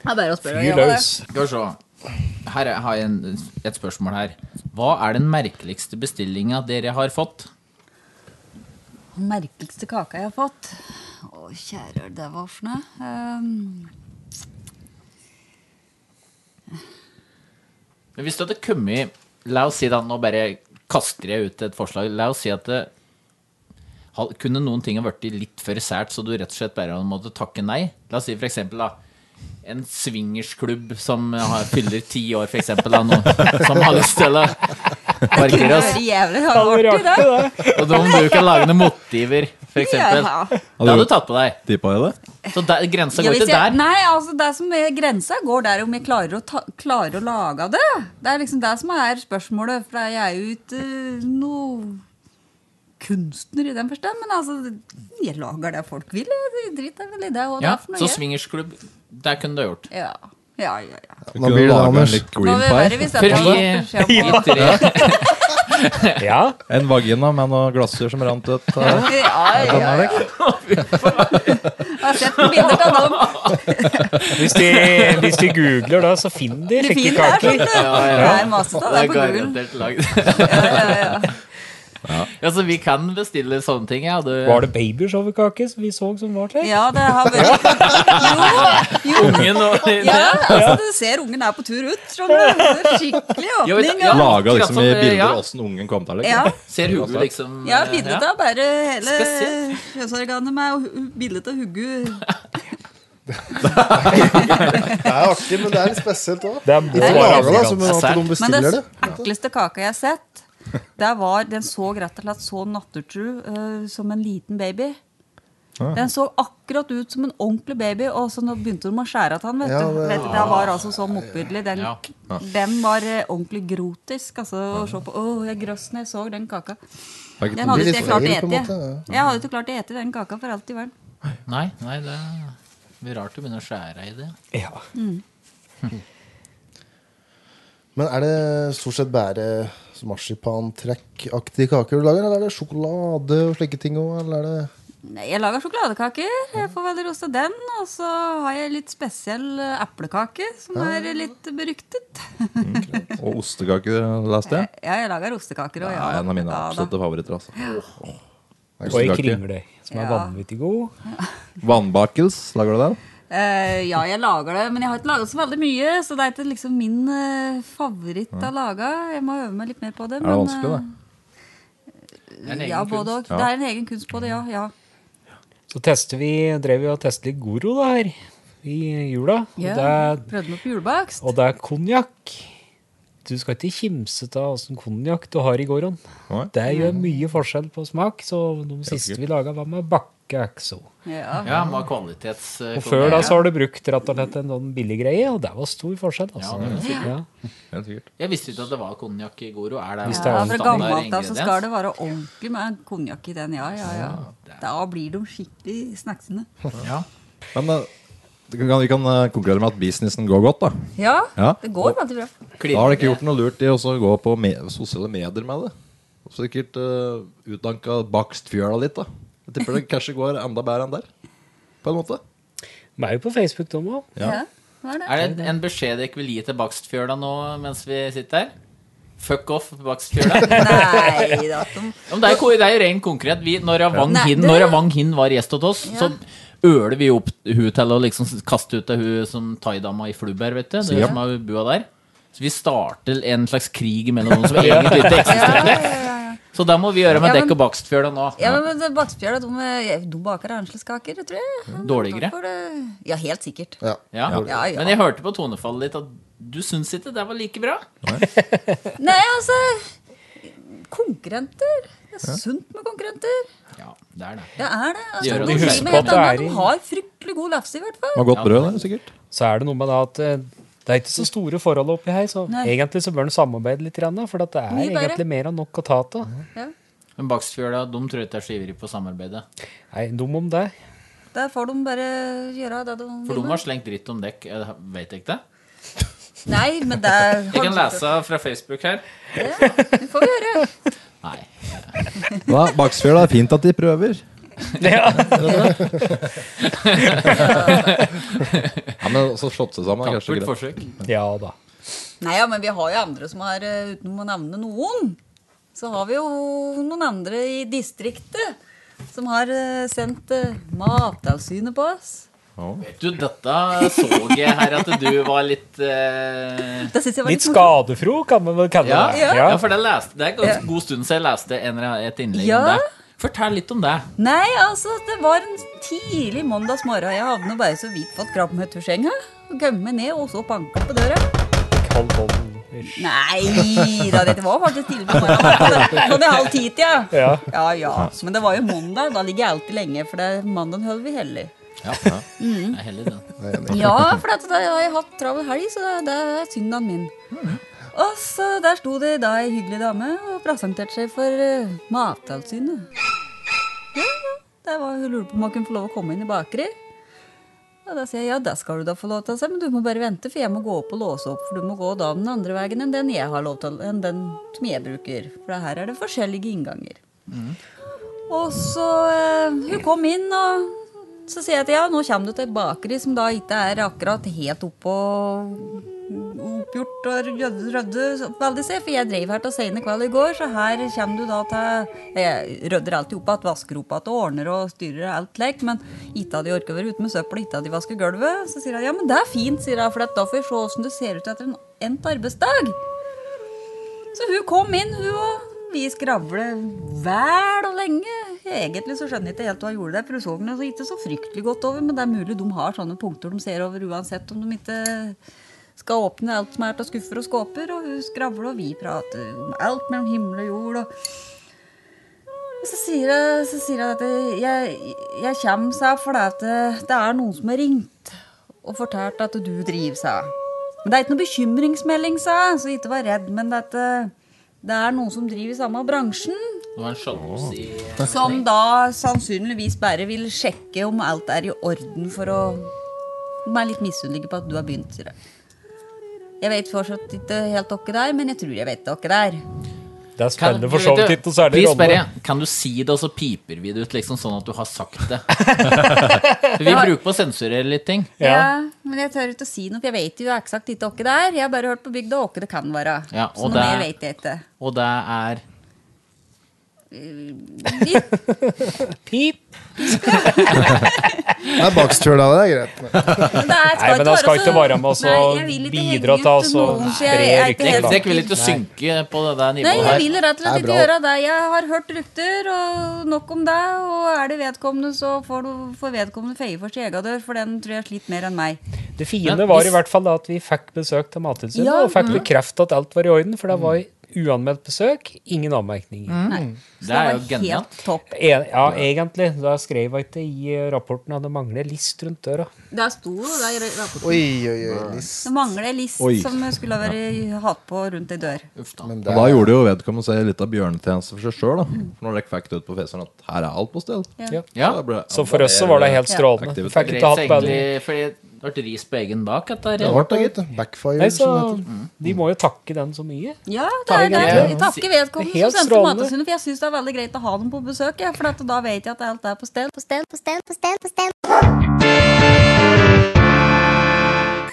er bare å spørre. Fyr ja, det. løs. Skal vi se. Her er- har jeg en, et spørsmål her. Hva er den merkeligste bestillinga dere har fått? Den merkeligste kaka jeg har fått. Å, kjære, det var for noe. Ehm, Men hvis du hadde kommet La oss si da, nå bare kaster jeg ut et forslag. La oss si at det ha- kunne noen ting ha blitt litt for sært, så du rett og slett bare måtte takke nei. La oss si for eksempel da en swingersklubb som har, fyller ti år, for eksempel, da, noen som har lyst til å det parkere oss. var jævlig artig, det. Og da må du kan lage noen motiver, for eksempel. Ja, ja. Det hadde du tatt på deg. Tippa jeg det? Så der, grensa Ja, går hvis ikke jeg, der. nei, altså det som er grensa, går der om jeg klarer å, ta, klarer å lage av det. Det er liksom det som er spørsmålet, for jeg er jo ikke eh, noe kunstner i den forstand. Men altså, jeg lager det folk vil. Jeg driter vel i det. Og det Ja, er for noe så jeg- swingersklubb, der kunne du ha gjort. Ja, ja, ja. ja. Nå blir det Anders. Nå green vil det være pie. hvis jeg For vi- tar I beskjed om tre. Ja, En vagina med noen glasser som rant ut. eh, Ja, ja, ja. Jeg har sett noen bilder av dem. hvis de, hvis de googler da, så finner de Det er slike fint der, sånn. kaker. Det er masse av det Det er på Google. garantert [LAUGHS] lagd. ja, så vi kan bestille sånne ting, ja. Du, [LAUGHS] Var det babyshowerkake som vi så som var til? Ja, det har vært Jo, jo. ungen og Ja, altså, du ser ungen er på tur ut. Skjønner du? Det er Skikkelig Jo, vet- åpning. ja. Ja, Laga liksom akkurat i sånn, ja. bilder åssen ungen kom til. ja. Liksom. Ser hodet liksom ja eh, bildet av bare hele Spesielt. kjønnsorganet med og hu- bildet av hugget. Det er artig, men det er litt spesielt òg. Det må De være lager det som Det er at de sært. Men bestiller den det. ekleste kaka jeg har sett, det var, den så rett og slett så nattertru eh, som en liten baby. Ah. Den så akkurat ut som en ordentlig baby, og så nå begynte de å skjære av den. Vet du. Ja, det- Vet du, det var altså så motbydelig. Den, Ja. den var eh, ordentlig grotisk altså, å se på. Å, jeg grøss når jeg så den kaka. Fikk- Den hadde blir ikke jeg litt klart å feil, på en ete. måte, Jeg hadde ikke klart å ete den kaka for alt i verden. Nei, nei, det blir rart å begynne å skjære i det. Ja. Mm. Men er det stort sett bare marsipantrekkaktige kaker du lager, eller er det sjokolade og slike ting òg, eller er det Nei, jeg lager sjokoladekaker. Jeg får vel rosa den. Og så har jeg litt spesiell eh, eplekake, som er litt beryktet. Og ostekake, leste jeg. Ja, jeg lager ostekaker òg, Det er ja. en av mine Ja, da. absolutte favoritter. altså. Og ei Ostekake. kringle, som er Ja. vanvittig god. Vannbakels, lager du den? Eh, ja, jeg lager det, men jeg har ikke laga så veldig mye. Så det er ikke liksom min eh, favoritt å lage. Jeg må øve meg litt mer på det. Er det vanskelig, eh, da? Det er en egen ja, både kunst. og. Det er en egen kunst på det, ja. ja. Så tester vi, drev vi og testet litt Goro da her i jula. Og Ja, det er Prøvde meg på julebakst. Og det er konjakk. Du skal ikke kimse av åssen konjakk du har i gården. Nei. Det Mm. gjør mye forskjell på smak, så de siste vi laga, var med bakkeakso. Ja. Ja, han var kvalitets... Og før da så har du brukt rett og slett en sånn billig greie, og det var stor forskjell. Ja, altså. det er Ja. Helt sikkert. Jeg visste ikke at det var konjakk i Goro. Er det Hvis det er Ja, en fra standard gammelt av så skal ingrediens? det være ordentlig med konjakk i den, ja, ja, ja. Da blir de skikkelig snacksende. Ja. Men eh, vi kan, vi kan eh, konkludere med at businessen går godt, da. Ja, Ja. det går veldig bra. Da har de ikke gjort noe lurt i å så gå på me sosiale medier med det. Sikkert uh, utdanka bakst fjøla litt, da. Jeg tipper det kanskje går enda bedre enn der. På en måte. De er jo på Facebook, de òg. Ja. Ja, hva er det? Er det en beskjed dere ikke vil gi til Bakstfjøla nå mens vi sitter her? Fuck off, Bakstfjøla. ja, Nei da. De, men det, er, ko- det er jo rent konkret. Vi, når jeg Wang Nei, Hin, det- når jeg Wang Hin var gjest hos oss, så øler vi opp hun til å liksom kaste ut av hun som thaidama i Flubber, vet du. Det Ja. som er bua der. Så vi starter en slags krig mellom noen som egentlig ikke eksisterer. Så det må vi gjøre med Ja, men- dekk og Bakstfjøla nå. ja, men det- Bakstfjell, de, de eh, baker anslagskaker, tror jeg. Dårligere. Derfor, eh, Ja, helt sikkert. Ja. Ja. Ja, ja. Men jeg hørte på tonefallet ditt at du syns ikke det var like bra. Nei, altså Konkurrenter. Det er sunt med konkurrenter. Ja, det er det. Det er det. Altså, Gjør de, at vi driver husker med på helt at det annet. er i- de har fryktelig god lefse, i hvert fall. Det var godt brød, det, sikkert. Så er det noe med det at eh, det er ikke så store forhold oppi her, så Nei. egentlig så bør en samarbeide litt, grann, for at det er Mye bedre. egentlig mer enn nok å ta av. Ja. Men Bakstfjøla de tror jeg ikke er så ivrig på samarbeidet. Nei, dum om det. [LAUGHS] Der får de bare gjøre det de vil For de med. har slengt dritt om dekk. eh, Vet jeg ikke det? Nei, men det er Jeg kan lese fra Facebook her. Det får vi gjøre. Nei. Ja, Baksfjøla er fint at de prøver. Ja, men så slått seg sammen er kanskje Tappert greit. forsøk. Ja da. Nei, ja, men vi har jo andre som har eh, Uten å nevne noen, så har vi jo noen andre i distriktet som har eh, sendt eh, Mattilsynet på oss. Du, dette så jeg her at du var litt eh, Det synes jeg var Litt litt, sånn- morsomt. skadefro kan man vel kalle ja. det. ja, for det, leste, det er Ja. en god stund siden jeg leste en, et innlegg om Ja. det. Fortell litt om det. Nei, altså, det var en tidlig mandagsmorgen. Jeg hadde nå bare så vidt fått krabben ut av senga. og Gømme ned, og så banka på døra. Kall den- Nei da, dette var faktisk tidlig på morgenen. Sånn i halv ti-tida. Ja. Ja. ja ja. Men det var jo mandag. Da ligger jeg alltid lenge, for det er mandagen holder vi hellig. Mm. Mm. Jeg er heldig, den. Ja, for dette, da har jeg hatt travel helg, så det, det er søndagen min. Og så der sto det da ei hyggelig dame og presenterte seg for eh, Mattilsynet. Ja, ja. Der var hun lurte på om hun kunne få lov å komme inn i bakeri. Og da sier jeg ja, det skal du da få lov til, sier jeg, men du må bare vente, for jeg må gå opp og låse opp, for du må gå da den andre veien enn den jeg har lov til, enn den som jeg bruker. For her er det forskjellige innganger. Og så eh, Hun kom inn, og så sier jeg til ja, nå kommer du til et bakeri som da ikke er akkurat helt oppå oppgjort og rødde, rødde så veldig se, for jeg drev her til sene kveld i går, så her kommer du da til Jeg rydder alltid opp igjen, vasker opp igjen og ordner og styrer alt lek, men ikke hadde jeg orket å være ute med søppel, ikke hadde jeg vasket gulvet. Så sier jeg ja, men det er fint, sier jeg, for at da får jeg se åssen det ser ut etter en endt arbeidsdag. Så hun kom inn, hun og vi skravlet vel og lenge. Egentlig så skjønner jeg ikke helt hva hun gjorde der, for hun så den altså ikke så fryktelig godt over, men det er mulig de har sånne punkter de ser over uansett om de ikke skal åpne alt som er av skuffer og skåper, og hun skravler, og vi prater om alt mellom himmel og jord. og... Og Så sier jeg, så sier jeg at jeg, jeg kommer, sa jeg, for det, at det- det er noen som har ringt og fortalt at du driver, sa jeg. Men det er ikke noen bekymringsmelding, sa jeg, så ikke vær redd, men det, at eh, det er noen som driver i samme bransjen, Det var en sjalusi. som da sannsynligvis bare vil sjekke om alt er i orden for å De er litt misunnelige på at du har begynt, sier jeg. Jeg vet fortsatt ikke helt dere der, men jeg tror jeg vet dere der. Det er spennende for du, så vidt vet du, ikke noe særlig vi rolle. spør igjen. Kan du si det, og så piper vi det ut, liksom sånn at du har sagt [LAUGHS] det? vi bruker på å sensurere litt ting. Ja. Ja. men jeg tør ikke å si noe, for jeg vet jo eksakt ikke åkke det er. Jeg har bare hørt på bygda åkke det kan være. Ja, så og noe det mer er- vet jeg ikke. Og det er Litt, Pip! Nei, bakstjøl av det er greit. men det er, Nei, men da skal så- ikke være med oss og Nei, jeg vil ikke bidra henge til ut oss og noen, så jeg spre er ikke rykter. helt- da. Dere vil ikke synke på det der Nei, nivået jeg her. vil rett og slett Det er ikke bra. gjøre det. Jeg har hørt rykter, og nok om det. Og er det vedkommende, så får, du, får vedkommende feie for sin egen dør, for den tror jeg sliter mer enn meg. Det fine Men var hvis- i hvert fall da at vi fikk besøk til Mattilsynet, Ja, Mm. og fikk bekreftet at alt var i orden, Mm. for det var uanmeldt besøk, ingen anmerkninger. Mm. Så Det er jo var genialt. helt topp. En, ja, egentlig. Da skrev jeg ikke i eh, rapporten at det mangler list rundt døra. Det sto jo der i rapporten. Oi, oi, oi. Nis. Det mangler en list som skulle ha vært hatt på rundt ei dør. Uff da. Men Og det da er gjorde jo vedkommende seg litt av bjørnetjeneste for seg sjøl. For når dere fikk det ut på feseren at her er alt på stell. Ja. Ja. da ble- Så for oss så var det helt Ja. strålende. Aktivitet. Fikk ikke Greit, hatt bedre. egentlig, fordi det ble ris på egen bak. At det det er, ble det, gitt. Backfire. Nei, så som det heter. Mm. de må jo takke den så mye. Ja, det er det. Jeg takker Det er vedkommende helt som sendte strålende. Mattilsynet, for jeg syns det er veldig greit å ha dem på besøk. Ja, for at da vet jeg at alt er på stell. På stell, på stell, på stell, på stell.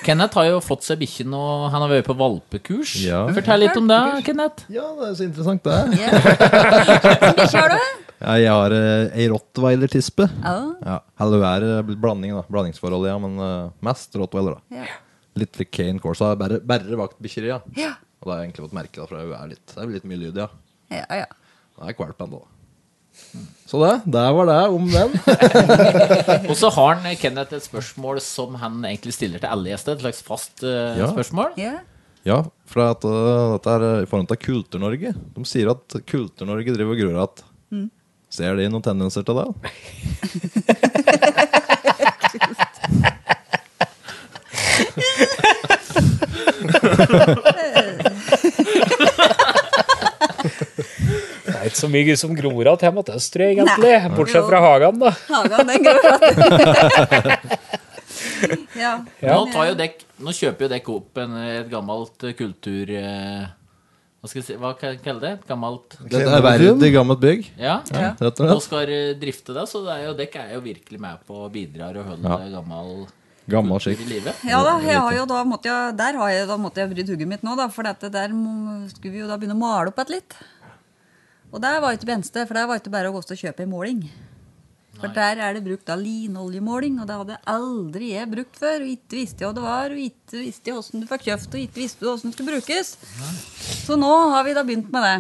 Kenneth har jo fått seg bikkje nå. Han har vært på valpekurs. Ja. Fortell litt om det, [LAUGHS] Kenneth. Ja, det er så interessant, det. er. Bikkje [LAUGHS] har du? Ja, jeg har eh, ei rottweiler-tispe. Ja. Ja, Eller er det blanding, da. Blandingsforhold, ja. Men eh, mest rottweiler, da. Ja. Litt like Kane Corsa. Bare, bare vaktbikkjer, ja. Ja. Og det har jeg egentlig fått merke, da, for hun er litt, det er litt mye lyd, ja. Ja, ja. Det er kvalp ennå, da. Så det, der var det om den. [LAUGHS] Og så har han, eh, Kenneth et spørsmål som han egentlig stiller til alle gjester. Et slags fast eh, Ja. spørsmål. ja. ja, for at, eh, dette er eh, i forhold til Kultur-Norge. De sier at Kultur-Norge driver og gruer at Mm. Ser de noen tendenser til det? Det er ikke så mye som gror av hjemme til Østre, egentlig. Bortsett fra hagen, da. Hagen, den går bra. [LAUGHS] ja. Nå, tar jo dekk, nå kjøper jo dekk opp en, et gammelt eh, kultur... eh, Hva skal jeg si, hva kan jeg kalle det? Et gammelt Det er verdig gammelt bygg. Ja. Rett og Nå slett. skal eh, drifte det, så det er jo, dekk er jo virkelig med på å bidra og holde Ja. det gammel Gammel i skikk. live. Ja da, jeg har jo da måtte jeg, der har jeg, da måtte jeg bryte hugget mitt nå, da, for dette der må- skulle vi jo da begynne å male opp et litt. Og der var jo ikke benste, for der var ikke bare å gå og kjøpe en måling. For der er det brukt da linoljemåling, og det hadde aldri jeg brukt før. Og ikke visste jeg hva det var, og ikke visste jeg hvordan du fikk kjøpt, og ikke visste du hvordan det skulle brukes. Så nå har vi da begynt med det.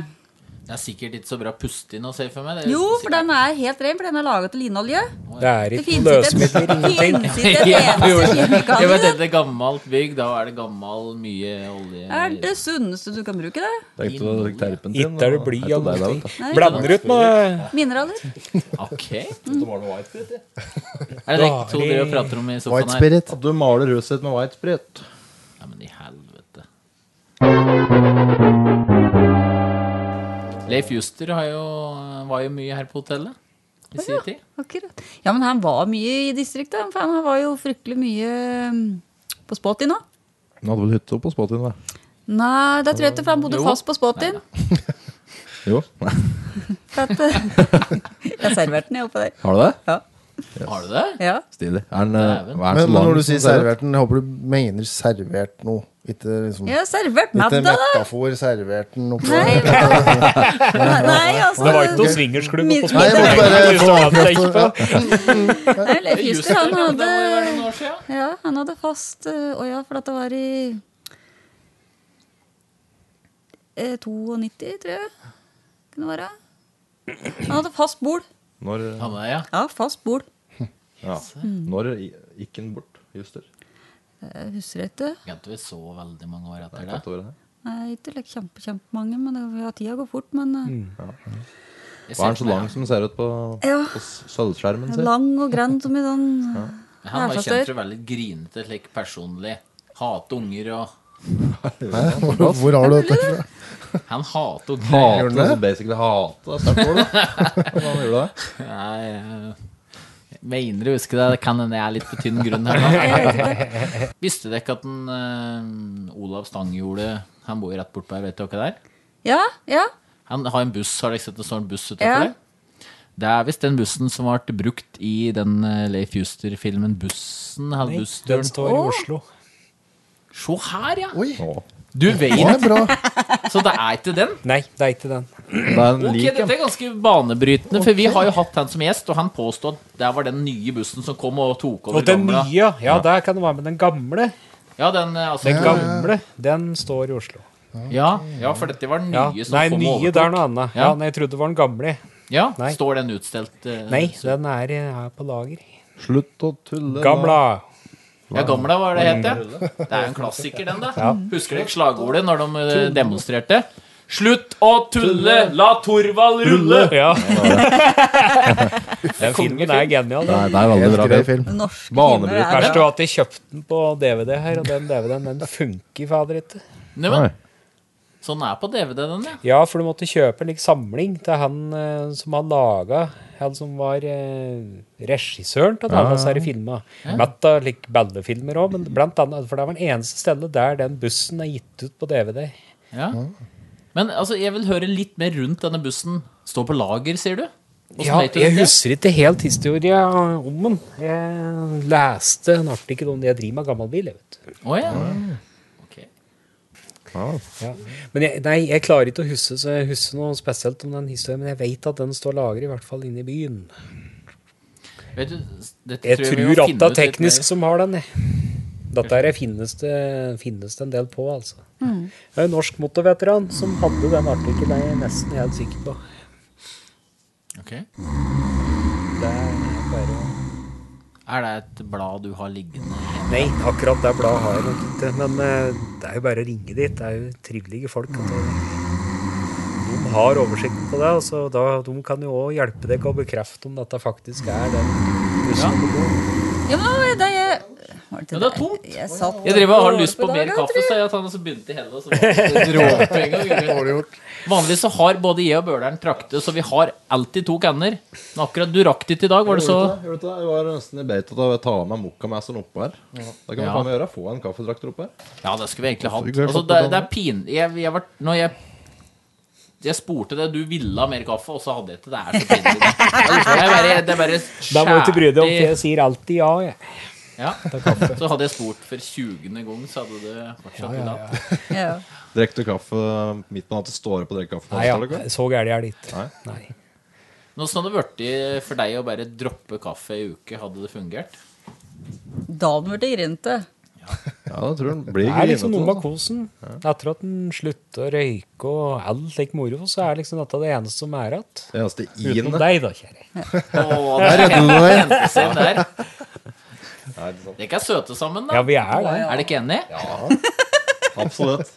Det er sikkert ikke så bra puste inn og se for meg. Det er Jo, for sikkert- den er helt ren, for den er laget av linolje. Det er Det ikke finnes ikke løsmidler, et, ingenting. finnes [LAUGHS] ikke et eneste Jeg vet kjemikalium. dette er gammelt bygg, da er det gammel mye olje Er det sunneste du kan bruke det? Tenkte du å terpen din? Ikke er det og- bly Hei til av deg, da, noen vet du. ting. Blander ut med Mineraler? Ok. Er det dere to dere prater om i sofaen White her? spirit. At du maler huset ditt med white sprit. Ja, men i helvete. Leif Juster har jo, var jo mye her på hotellet i sin tid. Akkurat. Ja, men han var mye i distriktet. For han var jo fryktelig mye mm, på Spotin nå. Han hadde vel hytte oppe på Spottin, da? Nei, det tror jeg ikke, for han bodde Jo. fast på Spotin. Jo. For at, [LAUGHS] jeg serverte den, jeg, oppe der. [LAUGHS] Har du det? Ja. Har du det? ja. Stilig. Er den, eh, Dæven. hva er den Men, så men lang når du som sier ser ut? servert den, jeg håper du mener servert noe. Ikke liksom Jeg har servert med Ikke det, da. metafor servert den oppå Nei, Nei, altså Det var ikke noen swingersklubb Min- på Nei, jeg måtte bare få- Spotlight. Nei, Leif Juster, han ja, men hadde det må jo være noen år siden. Ja, han hadde fast eh, Å ja, for at det var i eh, 92, tror jeg. Kunne det være. Han hadde fast bol. Når, Han er, ja. Ja, fast bol. ja. når i- gikk den bort, Juster? Jeg husker ikke. Jeg tror vi så veldig mange år etter Jeg det. kan ta ordet her. Nei, ikke like kjempe, kjempemange, men det, ja, tida går fort. Men eh, Jeg Hva er den ser så for meg, lang som den ser ut på, Ja. på s- sølvskjermen sin? lang og grønn som i den eh, ja. Han Jeg var jo forstår. kjent for å være litt grinete, slik personlig. Hate unger og Hvor [LAUGHS] hvor har du dette fra? Han hater unger. Hate, altså basically hate. da. [LAUGHS] Sterkt ord, da. Hvordan gjorde du det? Nei, jeg mener å huske det. Det kan hende jeg er litt på tynn grunn her [LAUGHS] nå. Visste dere ikke at den, eh, Olav Stang gjorde Han bor jo rett bortpå her, vet dere der? Ja, ja. Han har en buss, har dere sett det står en buss utenfor Ja. der? Det er visst den bussen som ble brukt i den eh, Leif Juster-filmen Bussen. Nei, Nei, den bussturen. står i Oslo. Se her, ja! Oi, Du det vet, er bra. [LAUGHS] så det er ikke den. Nei, det er ikke den. Det er en Ok, lik Dette er ganske banebrytende, for vi har jo hatt han som gjest, og han påstod at det var den nye bussen som kom og tok over Og den gamla. nye, ja, der kan det være med den gamle. Ja, den, eh, altså, Den ja, gamle, den står i Oslo. ja, for dette var den nye Ja. som Nei, kom og nye, det er noe overtok. annet. Ja. Ja, nei, jeg trodde det var den gamle. Ja, Nei. Står den utstelt? eh, Nei, så- den er eh, her på lager. Slutt å tulle. Gamla. Ja, gamla var det het, ja. Det er jo en klassiker, den, da. Husker dere slagordet når de eh, demonstrerte? Slutt å tulle, la Torvald rulle! Ja. [LAUGHS] den filmen er genial. Nei, da. det er veldig Helt bra. grei film. film. Norske Banebrytende. filmer er Verst var at jeg kjøpte den på DVD her, og den DVD-en den funker fader ikke. Nei, men, sånn er på DVD, den, ja. Ja, for du måtte kjøpe en lik samling til han eh, som han laga Han som var eh, regissøren til alle disse her filma. Mett av like, ballefilmer òg, men blant annet, for det var den eneste stedet der den bussen er gitt ut på DVD. ja. Men altså, jeg vil høre litt mer rundt denne bussen. Står på lager, sier du? Hvordan Ja, vet du jeg det? husker ikke helt historia om den. Jeg leste en artikkel om det jeg driver med gammel bil. Jeg vet. Å ja. Ok. Ja. Men jeg, nei, jeg klarer ikke å huske, så jeg husker noe spesielt om den historien, men jeg vet at den står lagret, i hvert fall inne i byen. Vet du, dette Jeg tror vi må at finne det ut er litt teknisk mer. som har den. jeg. Dette her finnes det, finnes det en del på, altså. Det er en norsk motorveteran som hadde den artikkelen, jeg er nesten helt sikker på. Ok. Det er bare... Er det et blad du har liggende? Nei, akkurat det bladet har jeg nok ikke, men eh, det er jo bare å ringe dit. Det er jo trivelige folk. vet du. De har oversikten på det, og så da, de kan jo òg hjelpe deg å bekrefte om dette faktisk er den bussen. Ja, men nå er det jeg Var Ja, ikke det er tomt. Jeg, satt Jeg driver og har lyst på på mer dagen, kaffe, så jeg tar den og så begynte i hele, og så [LAUGHS] var det en dråpe en gang. Vanligvis så har både jeg og Bøhleren trakte, så vi har alltid to kanner. Men akkurat du rakk dit i dag, var det så Gjorde du ikke det? Gjorde du ikke det? Jeg var nesten i beit av å ta med mokkamesseren oppå her. Det kan vi Ja. faen meg gjøre. Få en kaffetrakter oppå her. Ja, det skulle vi egentlig hatt. Ikke det, Altså, jeg det, fatter det er pin... Jeg, jeg var, når jeg jeg spurte deg, du ville ha mer kaffe, og så hadde jeg ikke. Det er så [LAUGHS] pinlig. Det er bare, det er bare Da må du ikke bry deg om, for skjærlig- jeg sier alltid ja, jeg. Ja. Så hadde jeg spurt for 20. gang, så hadde det fortsatt ja, Ja. Drekk du kaffe midt på natta? Står du på å drikke kaffe? Nei, ja, så gæren er det ikke. Nei. Nei. Nå som det hadde blitt for deg å bare droppe kaffe i uke, hadde det fungert? Da burde jeg grinte. Ja, det tror jeg den blir Det er liksom noe med grinete. kosen. Etter at en slutter å røyke og alt slik moro, så er liksom dette det eneste som er igjen. altså, Det eneste i-en Utenom der. deg, da, kjære. Åh, der Redder du deg? hentes inn der. Nei, ikke sant. Dere er søte sammen, da. Ja, vi er det. Er dere ikke enige? Absolutt.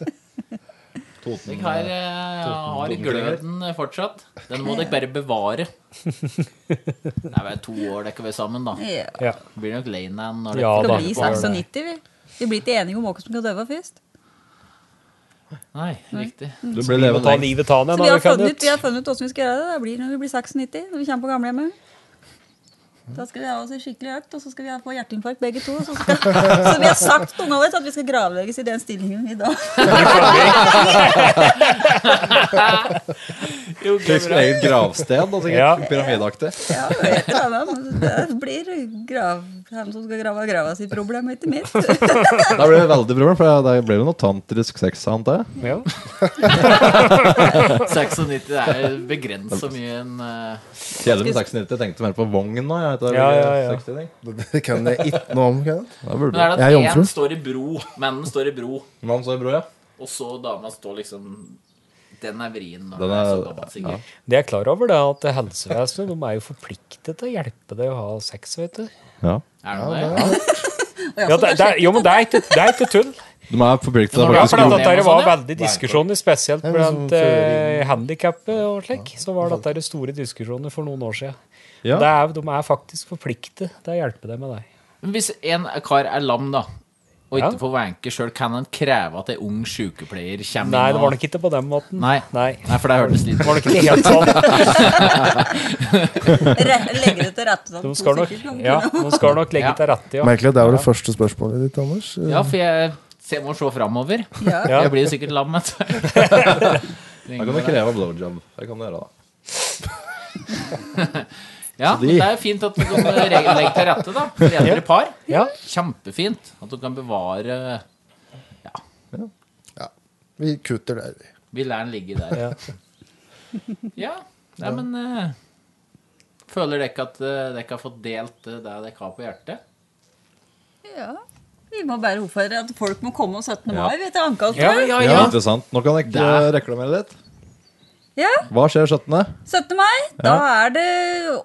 Toten. Dere har, eh, har gløden fortsatt. Den må dere bare bevare. Det er vel to år dere har vært sammen, da. Ja. Ja. Blir nok Lane når Ja, Det da. blir 96, vi. Vi blir ikke enige om hvem som skal døve først. Nei, riktig. Du blir Vi må ta levende. livet av deg Så når vi har vi kan funnet ut ut. vi har funnet ut hvordan vi skal gjøre det. Det blir når vi blir 96, når vi kommer på gamlehjemmet. Da skal vi ha oss en skikkelig økt, og så skal vi ha- få hjerteinfarkt begge to. Så, skal, så vi har sagt til ungene våre at vi skal gravlegges i den stillingen vi da Jo, det er Husk bra. eget gravsted, da, sikkert. Ja. Pyramideaktig. Ja, jeg vet det, men det blir grav, han som skal grave grava sitt problem, ikke mitt. Det Der blir det veldig bra, for der blir det noe tantrisk sex, antar jeg. Ja. 96 det er begrenset så mye en eh, Kjedelig med 96. Jeg tenkte mer på vogn nå. Jeg, Ja, ja, ja. Det kan jeg ikke noe om. Kan jeg? Men er det Jeg er at jomfru. én står i bro, mennen står i bro, Mann så i bror, ja. og så dama står liksom Den er vrien når Den den er, sånn er- så gammel, sikkert. Det er klar over det at helsevesenet de er jo forpliktet til å hjelpe deg å ha sex, vet du. ja. Er den det? Ja, det, det, er- jo, men det er ikke, det er ikke tull. De er forpliktet til Ja, å Ja, faktisk for det gå er dette her var Sånn, ja. veldig diskusjoner, spesielt Det er vel sånn blant eh, handikappet og slik. Så var dette her store diskusjoner for noen år siden. Ja. Det er, de er faktisk forpliktet til å hjelpe deg med det. Men Hvis en kar er lam, da, og ikke Ja. får vanke sjøl, kan han kreve at ei ung sykepleier kommer Nei, inn det og- var nok ikke på den måten. Nei. Nei. Nei, for det hørtes litt Det var nok ikke helt sånn. Legger det til rette De skal nok, ja, de skal nok legge til rette, ja. Merkelig at det var det første spørsmålet ditt, Anders. Ja, for jeg se- må se framover. Ja. [LAUGHS] Jeg blir jo sikkert lam etter hvert. Da kan du kreve blowjob. Det kan du gjøre, da. Ja, men det er jo fint at du kan re- legge til rette, da. For eldre par. Ja. Kjempefint at du kan bevare Vi kutter der, vi. Vi lar den ligge der. [LAUGHS] Ja. Nei, men eh, Føler dere ikke at eh, dere har fått delt eh, det dere har på hjertet? Ja. Vi må bare oppfordre at folk må komme 17. Ja. mai, vet du. Ankomst. ja, Ja, interessant. Nå kan jeg ikke eh, reklamere litt. Ja, Hva skjer 17.? 17. mai. Da er det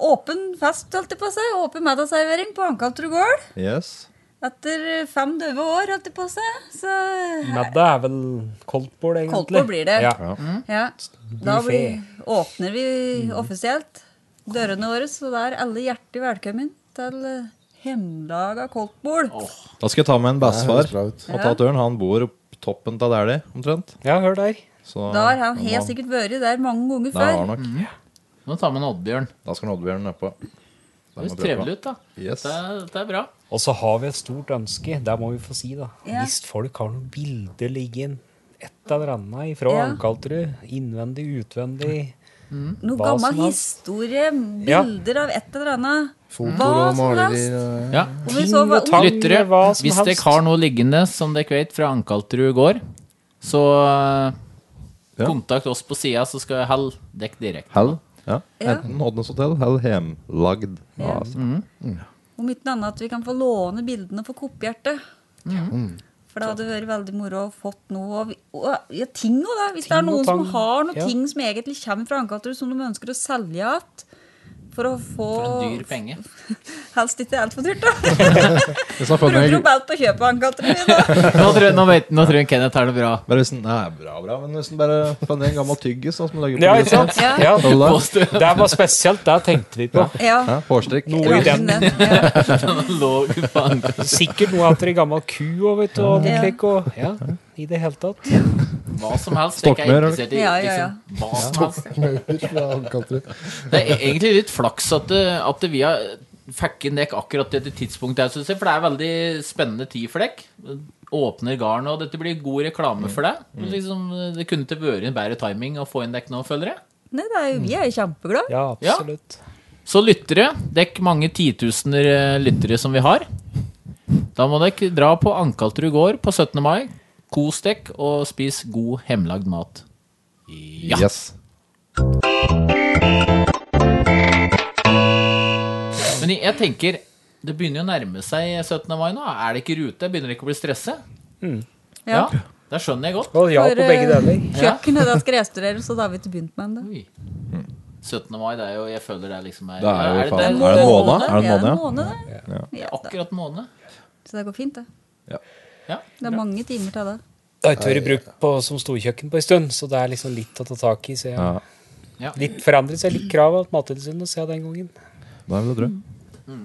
åpen fest, holdt jeg på å si. Åpen middagsservering på Ankaltrud gård. Yes. Etter fem døve år, holdt jeg på å si. Så Madda er vel koldtbord, egentlig. Koldtbord blir det. Ja. ja. Da blir, Buffet. åpner vi Mm. offisielt dørene våre, så da er alle hjertelig velkommen til eh, Hemmelaga koldtbord. Da skal jeg ta med en Det bestefar høres bra ut. og ta turen. Han bor opp toppen av der de, omtrent. ja, hør der. Så Da har han Mhm. må- helt sikkert vært der mange ganger Der var han før. nok. Nå tar vi en Oddbjørn. Da skal Oddbjørn nedpå. Det høres trevelig ut, da. Yes. Det er, det er bra. Og så har vi et stort ønske, det må vi få si, da. Ja. Hvis folk har noen bilder liggende, et eller annet fra Ja. Ankalterud, innvendig, utvendig Noe Hva som gammel helst. historie, Ja. bilder av et eller annet. Fotoer Hva og som helst. malerier. og- Ja. Om vi så var Ting og tang. ung, Lyttere, Eh, hva som hvis dere helst. har noe liggende som dere vet fra Ankaltrud gård, så eh, Ja. kontakt oss på sida, så skal jeg helle dere direkte. Hell. Ja. Ja. Enten Oddnes hotell eller hjemlagd. Ja. altså. om ikke annet at vi kan få låne bildene for kopphjertet. Mm. For det hadde vært veldig moro å fått noe av og, ja, ting òg, da. Hvis det er Ting og noen som tang. har noen Ja. ting som egentlig kommer fra Ankaltrud, som de ønsker å selge igjen for å få For en dyr penge. Helst ikke altfor dyrt, [LAUGHS] da. Hvis han får Bruker med- opp alt på å kjøpe Ankaltrud. [LAUGHS] da. Nå tror jeg, nå vet, nå tror jeg Kenneth har det bra. Bare hvis den, nei, bra, bra, men hvis den bare fant en gammel tyggis sånn som den lager Ja, på ikke sant? Ja. Ja. Påstå. Det var spesielt, det tenkte vi på. Ja. Ja, Hårstrikk. Noe i den. Rammen den, ja. Lå faen. Sikkert noe etter ei gammel ku og vet du, og noe Ja. slik, og ja, i det hele tatt. Hva som helst. Dere er Stokkmaur, eller? interessert i Ja, ja, ja. liksom, hva som helst. [LAUGHS] Ja, han kalte det. Det er egentlig litt flaks at, det- at vi har fikk inn dere akkurat til dette tidspunktet, her, synes jeg, for det er veldig spennende tid for dere. Åpner garnet, og dette blir god reklame for deg. Mm. Liksom, det kunne ikke vært en bedre timing å få inn dere nå, føler jeg. Nei, det er jo, vi er jo kjempeglade. Ja, Ja. absolutt. Så lyttere, dekk mange titusener eh, lyttere som vi har. Da må dere dra på Ankaltrud gård på 17. mai. Kos dere og spis god hjemmelagd mat. Ja. Yes. Men jeg tenker, det begynner jo å nærme seg 17. mai nå. Er det ikke i rute? Begynner dere ikke å bli stresset? Mm. Ja. Det skjønner jeg godt. Og ja For, på begge eh, deler. Kjøkkenet da skal restaureres, så da har vi ikke begynt med ennå. Oi. 17. mai, det er jo Jeg føler det er liksom Det Mm. er jo det- faen- det, er det en måned? Er det en Ja, måned, ja? det. Ja, er da. akkurat måned. Så det går fint, det. Ja. Ja. Det er mange timer til det. Det har ikke vært brukt på, som storkjøkken på en stund, så det er liksom litt å ta tak i. Så jeg, Ja. Ja. Litt forandret seg litt kravet til Mattilsynet siden den gangen. Det er vel det, tror jeg.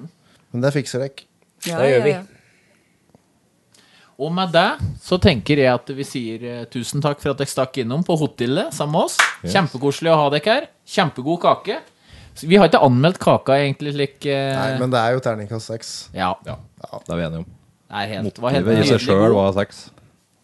Men det fikser jeg. Ja, Det gjør vi. Ja, ja. Og med det så tenker jeg at vi sier eh, tusen takk for at dere stakk innom på hotellet sammen med oss. Kjempekoselig å ha dere her. Kjempegod kake. Så Vi har ikke anmeldt kaka egentlig slik eh, Nei, men det er jo terningkast seks. Ja. Det er vi enige om. Det er helt, var helt Motivet i seg nydelig sjøl god. var sex.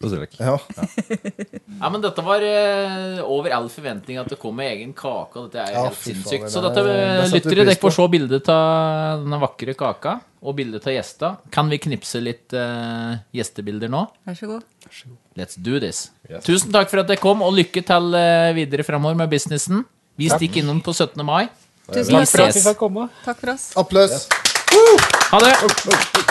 Det sier jeg ikke. Ja. Ja, men dette var eh, over all forventning at det kom med egen kake, og dette er jo Ja, helt fy faen, sinnssykt. det Så er- dette, eh, det setter vi lyttere, pris dere får på. se bildet av denne vakre kaka, og bildet av gjester. Kan vi knipse litt eh, gjestebilder nå? Vær så god. Let's do this. Tusen takk for at dere kom, og lykke til eh, videre framover med businessen. Vi stikker innom på 17. mai. Tusen takk for, Vi Takk for at vi ses. fikk komme. takk for oss. Applaus! Ha det!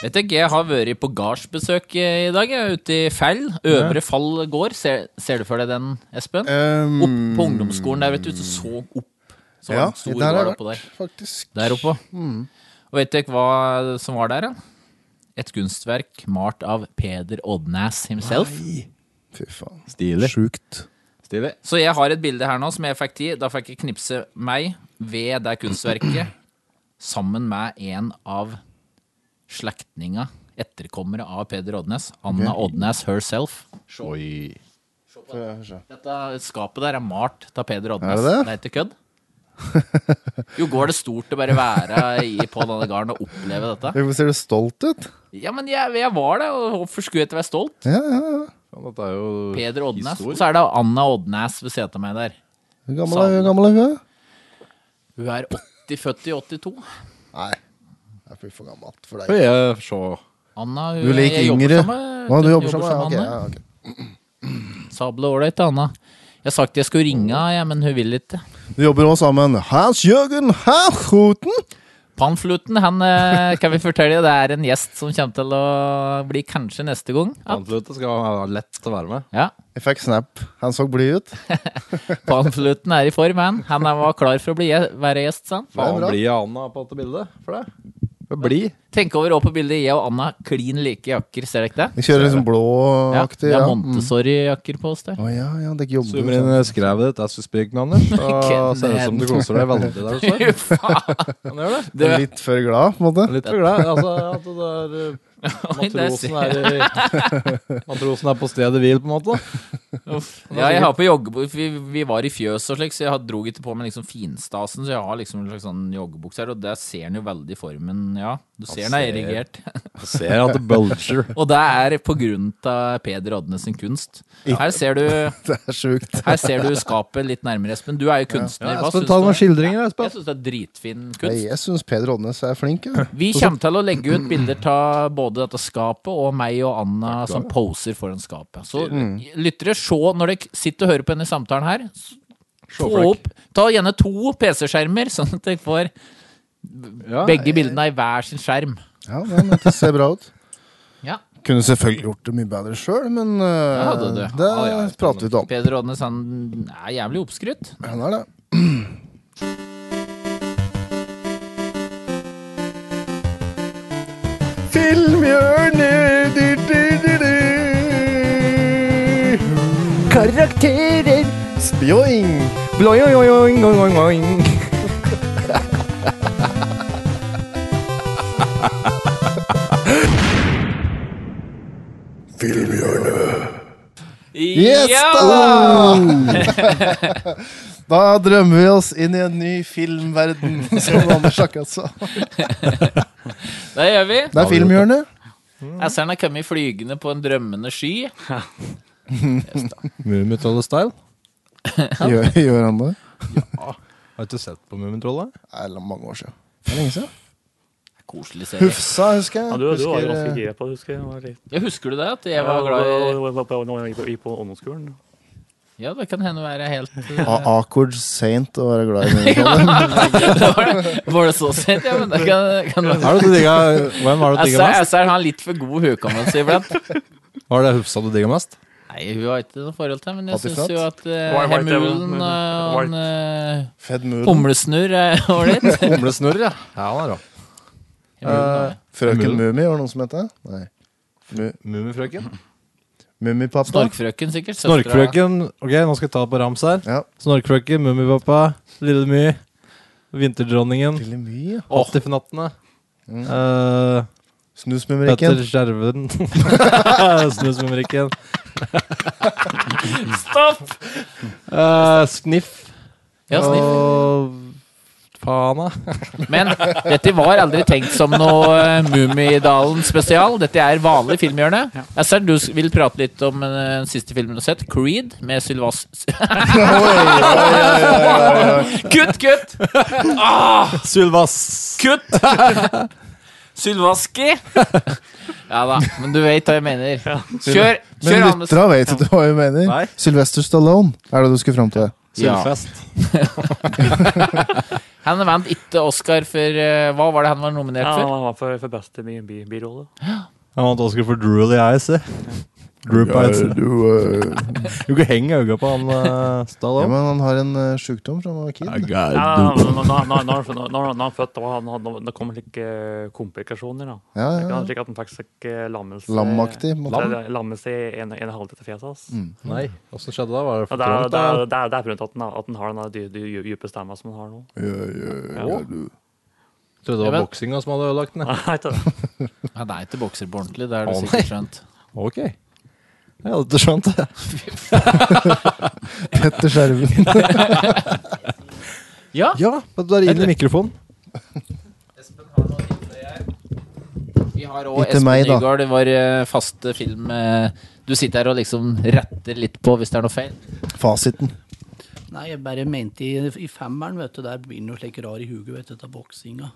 Vet ikke, jeg har vært på gardsbesøk eh, i dag, jeg, ute i Fell. Øvre Fall gård. Ser, ser du for deg den, Espen? Um, Opp på ungdomsskolen der, vet du. Så så opp. Så var Ja, det Mm. en stor der har gård jeg oppå der. vært, faktisk. Der oppe. Og vet dere hva som var der, da? Et kunstverk malt av Peder Oddnæs himself. Fy faen. Stilig. Sjukt. Stilig. Så jeg har et bilde her nå som jeg fikk tid. Da fikk jeg knipse meg ved det kunstverket sammen med en av slektninga, etterkommere av Peder Oddnes. Anna Oddnes herself. Oi. Får jeg se. Dette skapet der er malt av Peder Oddnes. Er det det? er ikke kødd. Jo, går det stort å bare være i, på denne garden og oppleve dette? Hvorfor ser du stolt ut? Ja, men jeg, jeg var det, og hvorfor skulle jeg ikke være stolt? Ja, ja, ja. Ja, dette er jo Peder Oddnes. historie. Og så er det Anna Oddnes ved siden av meg der. Hvor gammel er- hvor gammel er hun? Hun er 80, født i 82. Nei, jeg blir for gammel for Får deg. jeg se Anna, hun Du liker jeg jobber yngre. sammen med- Å, du jobber jobber sammen? Ja, ok, med ja, ok. Anna. Sable ålreit til Anna. Jeg har sagt jeg skulle ringe, ja, men hun vil ikke. Du jobber også sammen. Hans Jørgen Herroten! Panfluten, han eh, kan vi fortelle, det er en gjest som kommer til å bli kanskje neste gang. Ja. Antløte skal ha lett å være med. ja. Jeg fikk snap. Han så blid ut. Panfluten er i form, han. Han er- var klar for å bli, gje- være gjest, sa han. Faen, bra. blir Anna på dette bildet for deg? Bli. Tenk over også på bildet. Jeg og Anna klin like jakker, ser dere ikke det? Jeg kjører liksom Ja, blåaktig. det er ja. Montessori-jakker på oss der. Å ja, ja, dere jobber Zoomer jo inn sammen. i skrevet ditt, as you speak, [LAUGHS] Anders. Da Kødden. ser det ut som du koser deg veldig der [LAUGHS] du står. Faen, Han gjør det. Du du, er Litt for glad, på en [LAUGHS] måte. Litt for glad. Altså, at det [LAUGHS] er, eh, Oi, der ser matrosen, er i, [LAUGHS] matrosen er på stedet hvil, på en måte. uff. Ja, jeg har på joggebukse vi, vi var i fjøs og slik, så jeg har- dro ikke på meg liksom finstasen, så jeg har liksom en slags sånn joggebukse her, og der ser den jo veldig formen, ja. Du ser den er ser- erigert. Ser at det bulger. Og det er på grunn av Peder Odnes sin kunst. Her ser du, Det er sjukt. her ser du skapet litt nærmere, Espen. Du er jo kunstner. Hva Espen, syns ta noen du? skildringer, Jeg Espen. syns det er dritfin Nei, kunst. jeg syns Peder Odnes er flink. [LAUGHS] jo. Vi kommer til å legge ut bilder av både dette skapet og meg og Anna som poser foran skapet. Så lyttere, se når dere sitter og hører på denne samtalen her. s- Få opp, ta gjerne to PC-skjermer, [LAUGHS] sånn at dere får Ja, begge bildene i hver sin skjerm. Ja, men det ser bra ut. Ja. Kunne selvfølgelig gjort det mye bedre sjøl, men eh, det- det- det ja, ja, prater vi ikke om. Peder Odnes han er jævlig oppskrytt. Han er det. Filmhjørnet Karakterer Spjoing Bloing, oing, oing, oing Yes, Ja! [LAUGHS] da! da drømmer vi oss inn i en ny filmverden, som Anders akkurat sa. Det gjør vi. Det er filmhjørnet. Asseren har kommet flygende på en drømmende sky. Mummitrollet style. Gjør, gjør han det? Har du ikke sett på Mummitrollet? Nei, det er mange år siden. Det er lenge siden. Koselig [LAUGHS] serie. Hufsa, husker jeg. Ja, du, du var jo Husker, ganske eh, gira på det, husker jeg. Det var litt- Ja, husker du det? At jeg var glad Ja, i det var på- Når jeg gikk på- gikk på ungdomsskolen. Ja, det kan hende være helt A- Awkward saint å være [LAUGHS] glad i mummitrollet. Var det, var det så sent? Ja, men det kan, kan være. Har du digga Hvem var det du digga Asseren mest? Asseren har litt for god hukommelse iblant. Var det Hufsa du digga mest? Nei, hun har ikke noe forhold til, men jeg Hatt i syns flatt? jo at eh, White, white, Hemulen devil. eh, og han, eh, Fed Moon. Humlesnurr er ålreit. Humlesnurr, ja. ja han er rå. Hemulen, Frøken Mulen. Mummi, var det noen som het det? Nei. Mu- Mummifrøken. Mummipappa. Snorkfrøken, sikkert. søstera. Snorkfrøken. Ok, nå skal jeg ta på rams her. Ja. Snorkfrøken, Mummipappa, Lille My, Vinterdronningen, Veldig mye. Åttifnattene. Mm. eh, Petter Snusmumrikken. Skjerven. [LAUGHS] Snusmumrikken. Stopp! Eh, sniff. Ja, sniff. Og faen, da. Men dette var aldri tenkt som noe eh, Mummidalen-spesial. Dette er vanlig filmhjørne. Asseren, du s- vil prate litt om eh, den siste filmen du har sett, Creed, med Sylvas... kutt, kutt! Sylvas. Kutt! Sylvaski! Ja da, men du vet hva jeg mener. Kjør, kjør Men Anders. lyttera vet ikke hva jeg Nei. mener. Sylvester Stallone er det du skulle fram til. Ja. Sylfest. Han vant ikke Oscar for eh, Hva var det han var nominert Ja, for? han var for, for beste bi- bi- birolle. Han vant Oscar for Drool i Eyes. eh. Droop Eyes. Ja, du, eh, Du kan henge øynene på han uh, Ja, Stallone. men han har en uh, sjukdom fra han var kid. Ja, men Når når- når- når- når- når han var født, da var han- han- det kom like komplikasjoner. da. Ja, Det ja. kan- Slik eh, at han fikk seg lammelse Lammaktig. Mm, på en måte. Lam- Lammelse i en, en halvtid til fjeset hans. Nei, åssen skjedde det? Var Ja, det for det, er, trangt? det, da? er, det, er, det er på grunn av at den, har- at den har den der dy- dy- dype stemma som den har nå. [LAUGHS] Ja, ja, ja, Ja. du. Jeg Trodde Ja, det var men- boksinga som hadde ødelagt den. jeg. Nei, ikke det. Ja, det er ikke bokser på ordentlig, det er Å, du sikkert skjønt. Ok. Jeg hadde ikke skjønt det. Petter Skjerven. Ja. Ja, men da ringer mikrofonen. Espen har noe inntil her. Vi har òg Ikke Espen meg, da. Nygaard, det var eh, fast eh, film eh, Du sitter her og liksom retter litt på hvis det er noe feil. [LAUGHS] Fasiten. Nei, jeg bare mente i, i femmeren, vet du, der blir det noe slik rar i huget, vet du, etter boksinga.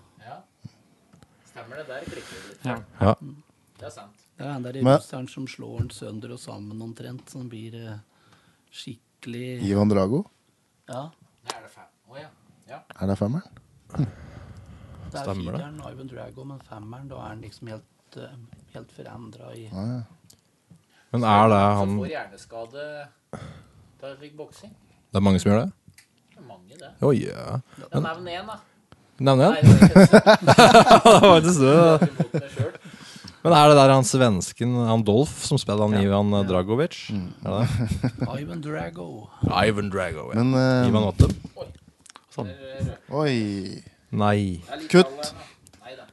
Stemmer det? Der klikker det litt. Ja. Det er sant. Det er han der Men- russeren som slår den sønder og sammen omtrent, som blir eh, skikkelig Ivan Drago. Ja, Nei, er det fem? Å ja. Er det femmeren? det er Stemmer det. fireren Ivan Drago, men femmeren, da er han liksom helt, eh, helt forandra i Ja, ja. Men er det Så han får hjerneskade da jeg fikk boksing. Det er mange som gjør det? Det er mange, det. Oi, ja. Ja, Nevn én, da. Nevne Nei, en. det er ikke [LAUGHS] Det var ikke så så- imot meg selv. Men er det der han svensken, han Dolf, som spiller han Ivan eh, Dragovic? Er det det? Ivan Drago. Ivan Drago, ja. Men eh, Ivan Otto? Oi. Nei. Det er litt Kutt. alle, da. Nei da.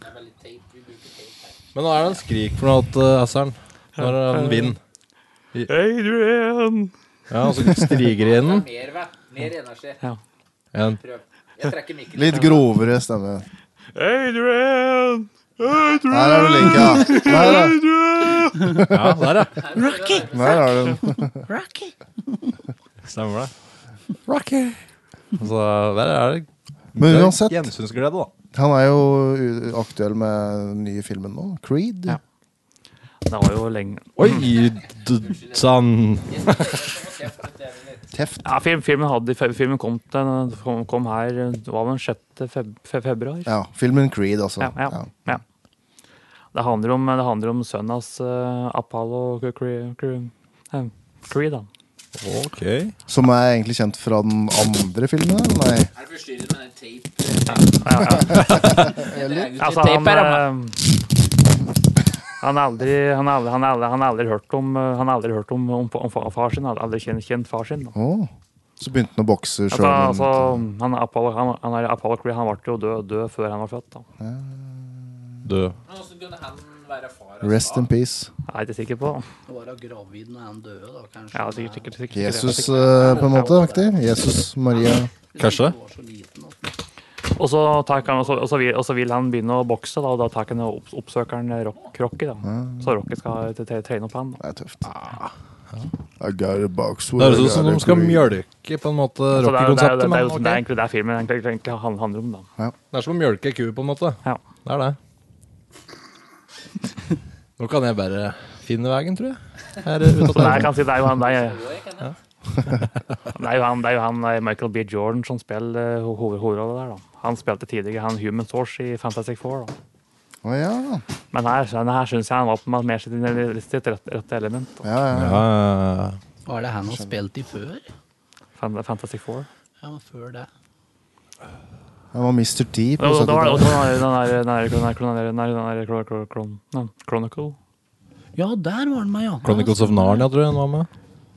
Det er veldig tape. Vi bruker tape her. Men nå er det en skrik for noe at uh, Asseren Når han vinner. Adrian! Ja, altså, og så stiger det inn. [LAUGHS] Det er mer, va? Mer energi. En. Prøv. Jeg trekker mikken. Litt grovere stemme. Adrian! Der er du like, ja. Der, er- Ja, der, ja. der har du den. Rocky! Stemmer det. Rocky. Så der er det Men det er uansett. Gjensynsglede, da. Han er jo u- aktuell med den nye filmen nå. Creed. Ja. Det var jo lenge Oi, d- sånn sann Teft. ja, film, filmen, hadde, filmen kom, til, kom, kom her Det var vel 6. Feb, fe- februar. Ja, filmen Creed, altså. Ja, ja. Det handler om, det handler om sønnen hans, eh, Apollo Cre- Cre- Cre- eh, Creed. da. Ok. Som er egentlig kjent fra den andre filmen? Nei. Er du forstyrret med den tape? Ja, ja. [LAUGHS] Jeg drar ut Altså, litt han, tape her, da. eh, han har aldri, han har aldri, han har aldri, han har aldri hørt om, eh, han har aldri hørt om, om, om fa- far sin. Han har aldri kjent, kjent far sin. Da. Åh. Så begynte han å bokse sjøl. Altså, altså, han, er Apollo, han, han, er Apollo Creed han ble jo død, død før han var født. Da. Du. Men Hvordan kunne han være far? altså? Rest in peace. Jeg er ikke sikker på. Å være gravid når han døde, da, kanskje. Ja, sikkert, sikkert, sikkert, Jesus, sikkert. eh, på en måte. aktig. Jesus Maria. Kanskje. Han var så liten at Og så, tar han, og, så, og, så vil, og så vil han begynne å bokse, da, og da tar han og opp, oppsøker han rock, Rocky. Da. Så Rocky skal t- t- trene opp han. Da. Det er tøft. Ah. I got a box Det with høres I ut som got a de skal Creed. mjølke på en måte Så Altså, det er, det, er, det, er, rockekonseptet. det, er, Men jo- ok. det er egentlig det filmen egentlig, egentlig han- handler om. Da. det er som å mjølke ei ku, på en måte. Ja. Det er det. Nå kan jeg bare finne veien, tror jeg. Her ute av Så det, døren. er, kan si, det er jo han det er, det, er jo han, det er jo han eh, Michael B. Jordan som spiller eh, ho- hoved, hovedrollen der. Da. Han spilte tidligere han Human Source i Fantastic Four. Da. Å ja. Men her, her syns jeg han var på mer- mer sitt, sitt rette, rette element. Da. Ja, ja. Ja, ja, ja. Var det han har spilt i før? Fan- Fantastic Four. Ja, men før det. Han var Mr. T på Og og da var det 70-tallet. også den der- den der- den der- den der- den der- den der- kron- kron- kron- nei, Chronicle. Ja, der var han med, ja. Chronicles of Narnia, tror jeg han var med.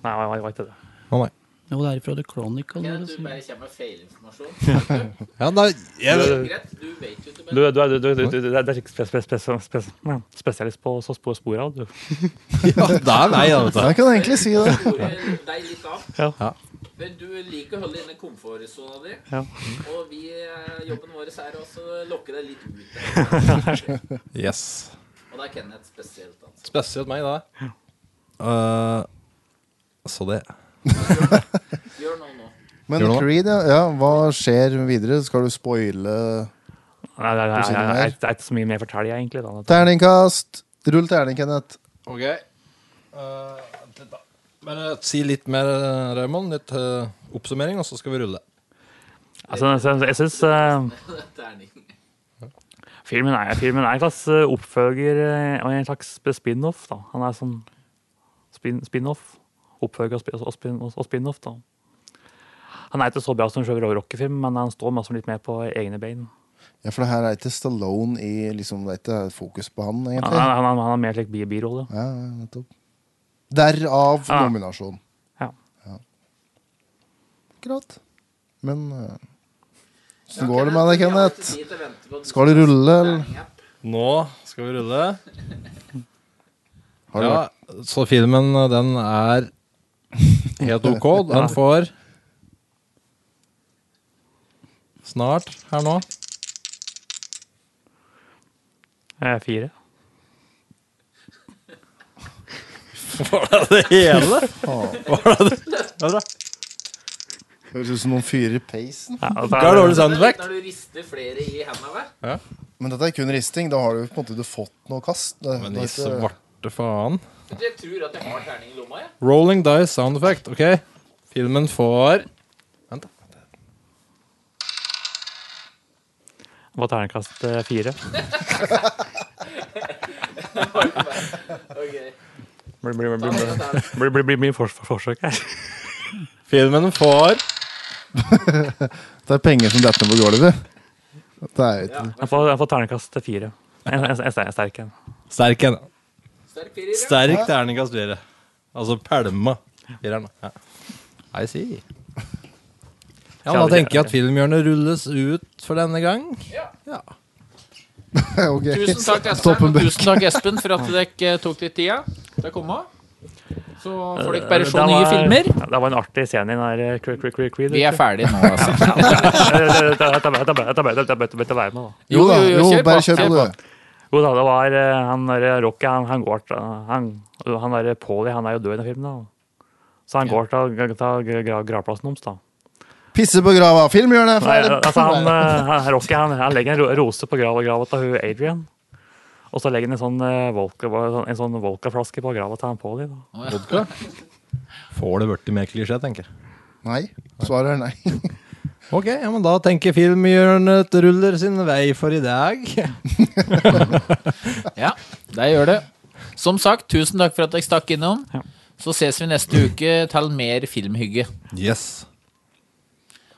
Nei, jeg- jeg vet ikke det. Å, nei. Jo, det er fra The Chronicle. Ja, dere Du sier. bare kommer med feilinformasjon. Ja, da, jeg, Greit, du vet jo ikke, men Du, du, du, du, du, du, du er ikke spes, spes, spes, spes, ja, spesialist på så spor, spor av, du. ja, det er nei, da, vet du. Jeg kan egentlig si det. sporer deg litt av. Ja. Ja. Men du liker å holde inne komfortsona di, Ja. og vi, eh, jobben vår er også å lokke deg litt ut. Yes. Og det er Kenneth spesielt. Altså. Spesielt meg, det. Uh, så det Gjør noe nå. Men Gjør det. Creed, ja. ja. Hva skjer videre? Skal du spoile Nei, nei, nei, Du sier nei, noe nei, mer? det er ikke så mye mer å fortelle, jeg, egentlig. Da. Terningkast! Rull terning, Kenneth. Ok. Eh, bare si litt mer, Raymond. Litt eh, oppsummering, og så skal vi rulle. Altså, jeg- jeg syns Terning. filmen, er- filmen er en slags eh, oppfølger eh, og en slags spin-off. da. Han er sånn spin- spin-off. Oppfølger og spin- og spin- og spin-off, da. Han er ikke så bra som Sjøver og Rocky-film, men han står med oss litt mer på egne bein. Ja, for det her er ikke Stallone i liksom, Det er ikke fokus på han, Han, egentlig. Ja, han, han, han er mer slik bi- birolle. ja, nettopp. Derav Ja. nominasjon. Ja. Akkurat. Men åssen går det Kenneth, med deg, vi har ikke Kenneth? tid til å vente på at du Skal du rulle, eller? terning, ja. Nå skal vi rulle. Har du Ja, så filmen, eh, den er helt ok. Den får snart her nå. Eh, fire. Var det det hele? Var det det? Høres ut som noen fyrer i peisen. Ja, altså, og så Det er er dårlig sound effect. Når du rister flere i hendene, vel? Men dette er kun risting. Da har du på en måte ikke fått noe kast. Det, Men det i er ikke- svarte faen. Jeg tror at jeg har terning i lomma, jeg. Rolling dice sound effect. Ok, filmen får Vent, da. det var terningkast eh, fire. Blir blir- blir- blir- blir- blir- blir mye fors- forsøk her. Filmen får det er penger som detter ned på gulvet. Det er jo ikke Jeg får, jeg får terningkast fire. En, en, en ster- sterk en. Sterk en. Sterk firer, ja. Sterk terningkast fire. Altså pælma. Fireren, da. Ja. I see. Ja, da tenker jeg at filmhjørnet rulles ut for denne gang. Ok. Tusen takk, Espen, Toppen og tusen takk, Espen for at dere tok litt tida til å komme. Så får dere bare se Det nye Eh, var- filmer. Det var en artig scene i den der eh, Cre- Cre- Cre- Creed. Vi er ferdige nå, altså. Dette var med, da. Jo da, Jo, jo, jo, kjør på, bare kjør kjør på, du. Jo da, det var eh, han der Rocky, han, han går til Han, han der Paulie, han er jo død i den filmen, da. Så han går til, til, til gra- gravplassen hans, da. Pisse på grava. Nei, Filmhjørnet! ferdig. altså han, eh, han Rocky, han, han legger en ro- rose på grava grava til hun Adrian. Og så legger han en sånn eh, vodka, en sånn vodkaflaske på grava til han Paulie, da. Vodka. Får det blitt mer klisjé, tenker jeg. Nei. Svaret er nei. Ok, ja, men da tenker filmhjørnet ruller sin vei for i dag. Ja, det gjør det. Som sagt, tusen takk for at dere stakk innom. Så ses vi neste uke til mer filmhygge. Yes.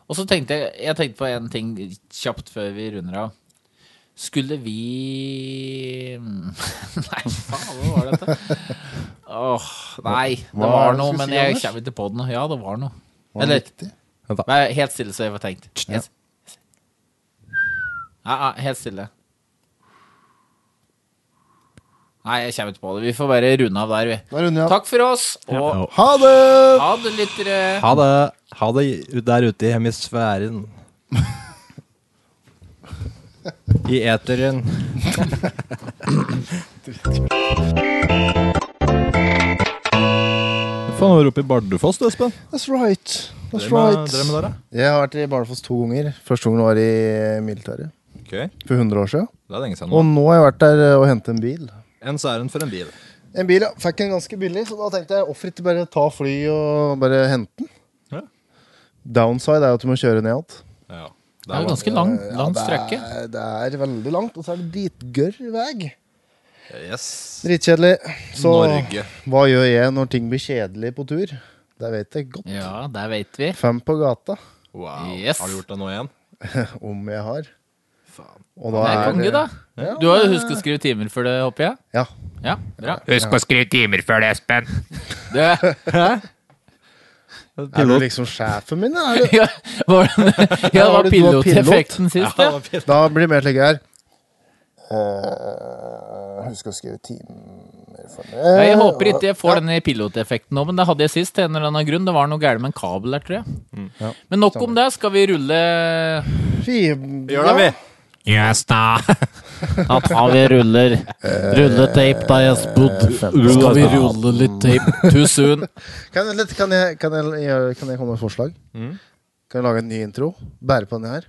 Og så tenkte jeg, jeg tenkte på en ting kjapt før vi runder av. Skulle vi [LAUGHS] Nei, faen, hva var dette? Åh, nei. Det Hva er var det du noe, skulle men si, jeg Anders? kommer ikke på det nå. Ja, det var noe. Var det Eller- riktig? Vær helt stille, så jeg får tenkt. Helt, ja, ja, helt stille. Nei, jeg kommer ikke på det. Vi får bare runde av der, vi. Da runder jeg av. Takk for oss, og Ha det! ha det, lyttere. Ha det, ha det ut der ute i hemisfæren. I eteren. Faen, var du oppe i Bardufoss, du, Espen? That's right. That's Drev med- right. drev med dere? Jeg har vært i Bardufoss to ganger. Første gangen var i militæret Ok, for 100 år siden. det er lenge siden. Og nå har jeg vært der eh, og hentet en bil. En særen for en bil. En bil, ja. Fikk en ganske billig, så da tenkte jeg hvorfor ikke bare ta fly og bare hente den? Ja. Downside er jo at du må kjøre ned igjen. Ja. Det er jo ganske lang, lang det, strøkke. er- det er veldig langt, og så er det dritgørr vei. Yes. Dritkjedelig. Så Norge. hva gjør jeg når ting blir kjedelig på tur? Det vet jeg godt. Ja, der vet vi. Fem på gata, Wow. Yes. Har du gjort det nå igjen? om jeg har. Og Det da er er konge, da. Ja. Du har jo husket å skrive timer for det, håper jeg? Ja. Ja, bra. eh, Husk å skrive timer før det, Espen. Det, Er du liksom sjefen min, da? Er du? ja, [LAUGHS] var, ja, det var var det du var pilot? piloteffekten sist, ja. Da blir det mer slik her Eh, Husk å skrive timer for Ja, meg. Jeg håper ikke jeg får denne piloteffekten nå, men det hadde jeg sist. til en eller annen grunn. Det var noe galt med en kabel der, tror jeg. Ja. Men nok om det. Skal vi rulle Vi Gjør det, vi. Yes, [LAUGHS] da. Da tar vi ruller. Rulletape, da, eh, Jespen. Skal vi rulle litt tape? Too soon. Kan, jeg- litt, kan, jeg, kan, jeg, gjøre- kan jeg komme med et forslag? Kan jeg lage en ny intro? Bære på den her?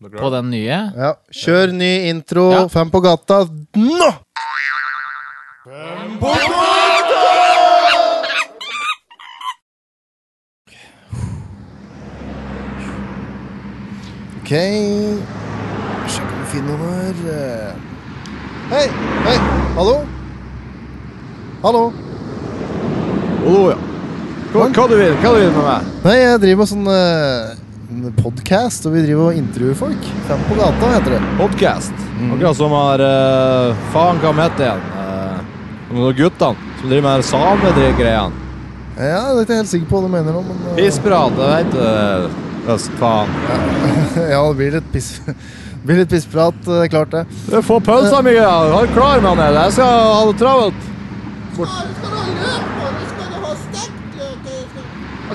På den nye. Ja. Kjør ny intro, Ja. fem på gata nå! Ok Sjekk om vi finner noen her. Hei! Hei! Hallo? Hallo? Hallo, ja. Hva, hva du vil hva du vil med meg? Nei, jeg driver med sånn uh, podkast, og vi driver og intervjuer folk. Fem på Mm. gata, heter det. Podcast. Akkurat som har eh, Faen, hva de heter igjen? Uh, noen av guttene som driver med samegreiene. Ja, det er ikke jeg helt sikker på hva du mener nå, men eh, Pissprat, det veit du. eh, Østfaen. eh, Ja, det blir litt piss [LAUGHS] det blir litt pissprat, det er klart det. Du får Eh. pølsa mi, da. Er du klar med den? Jeg skal ha eh, det travelt. Bort.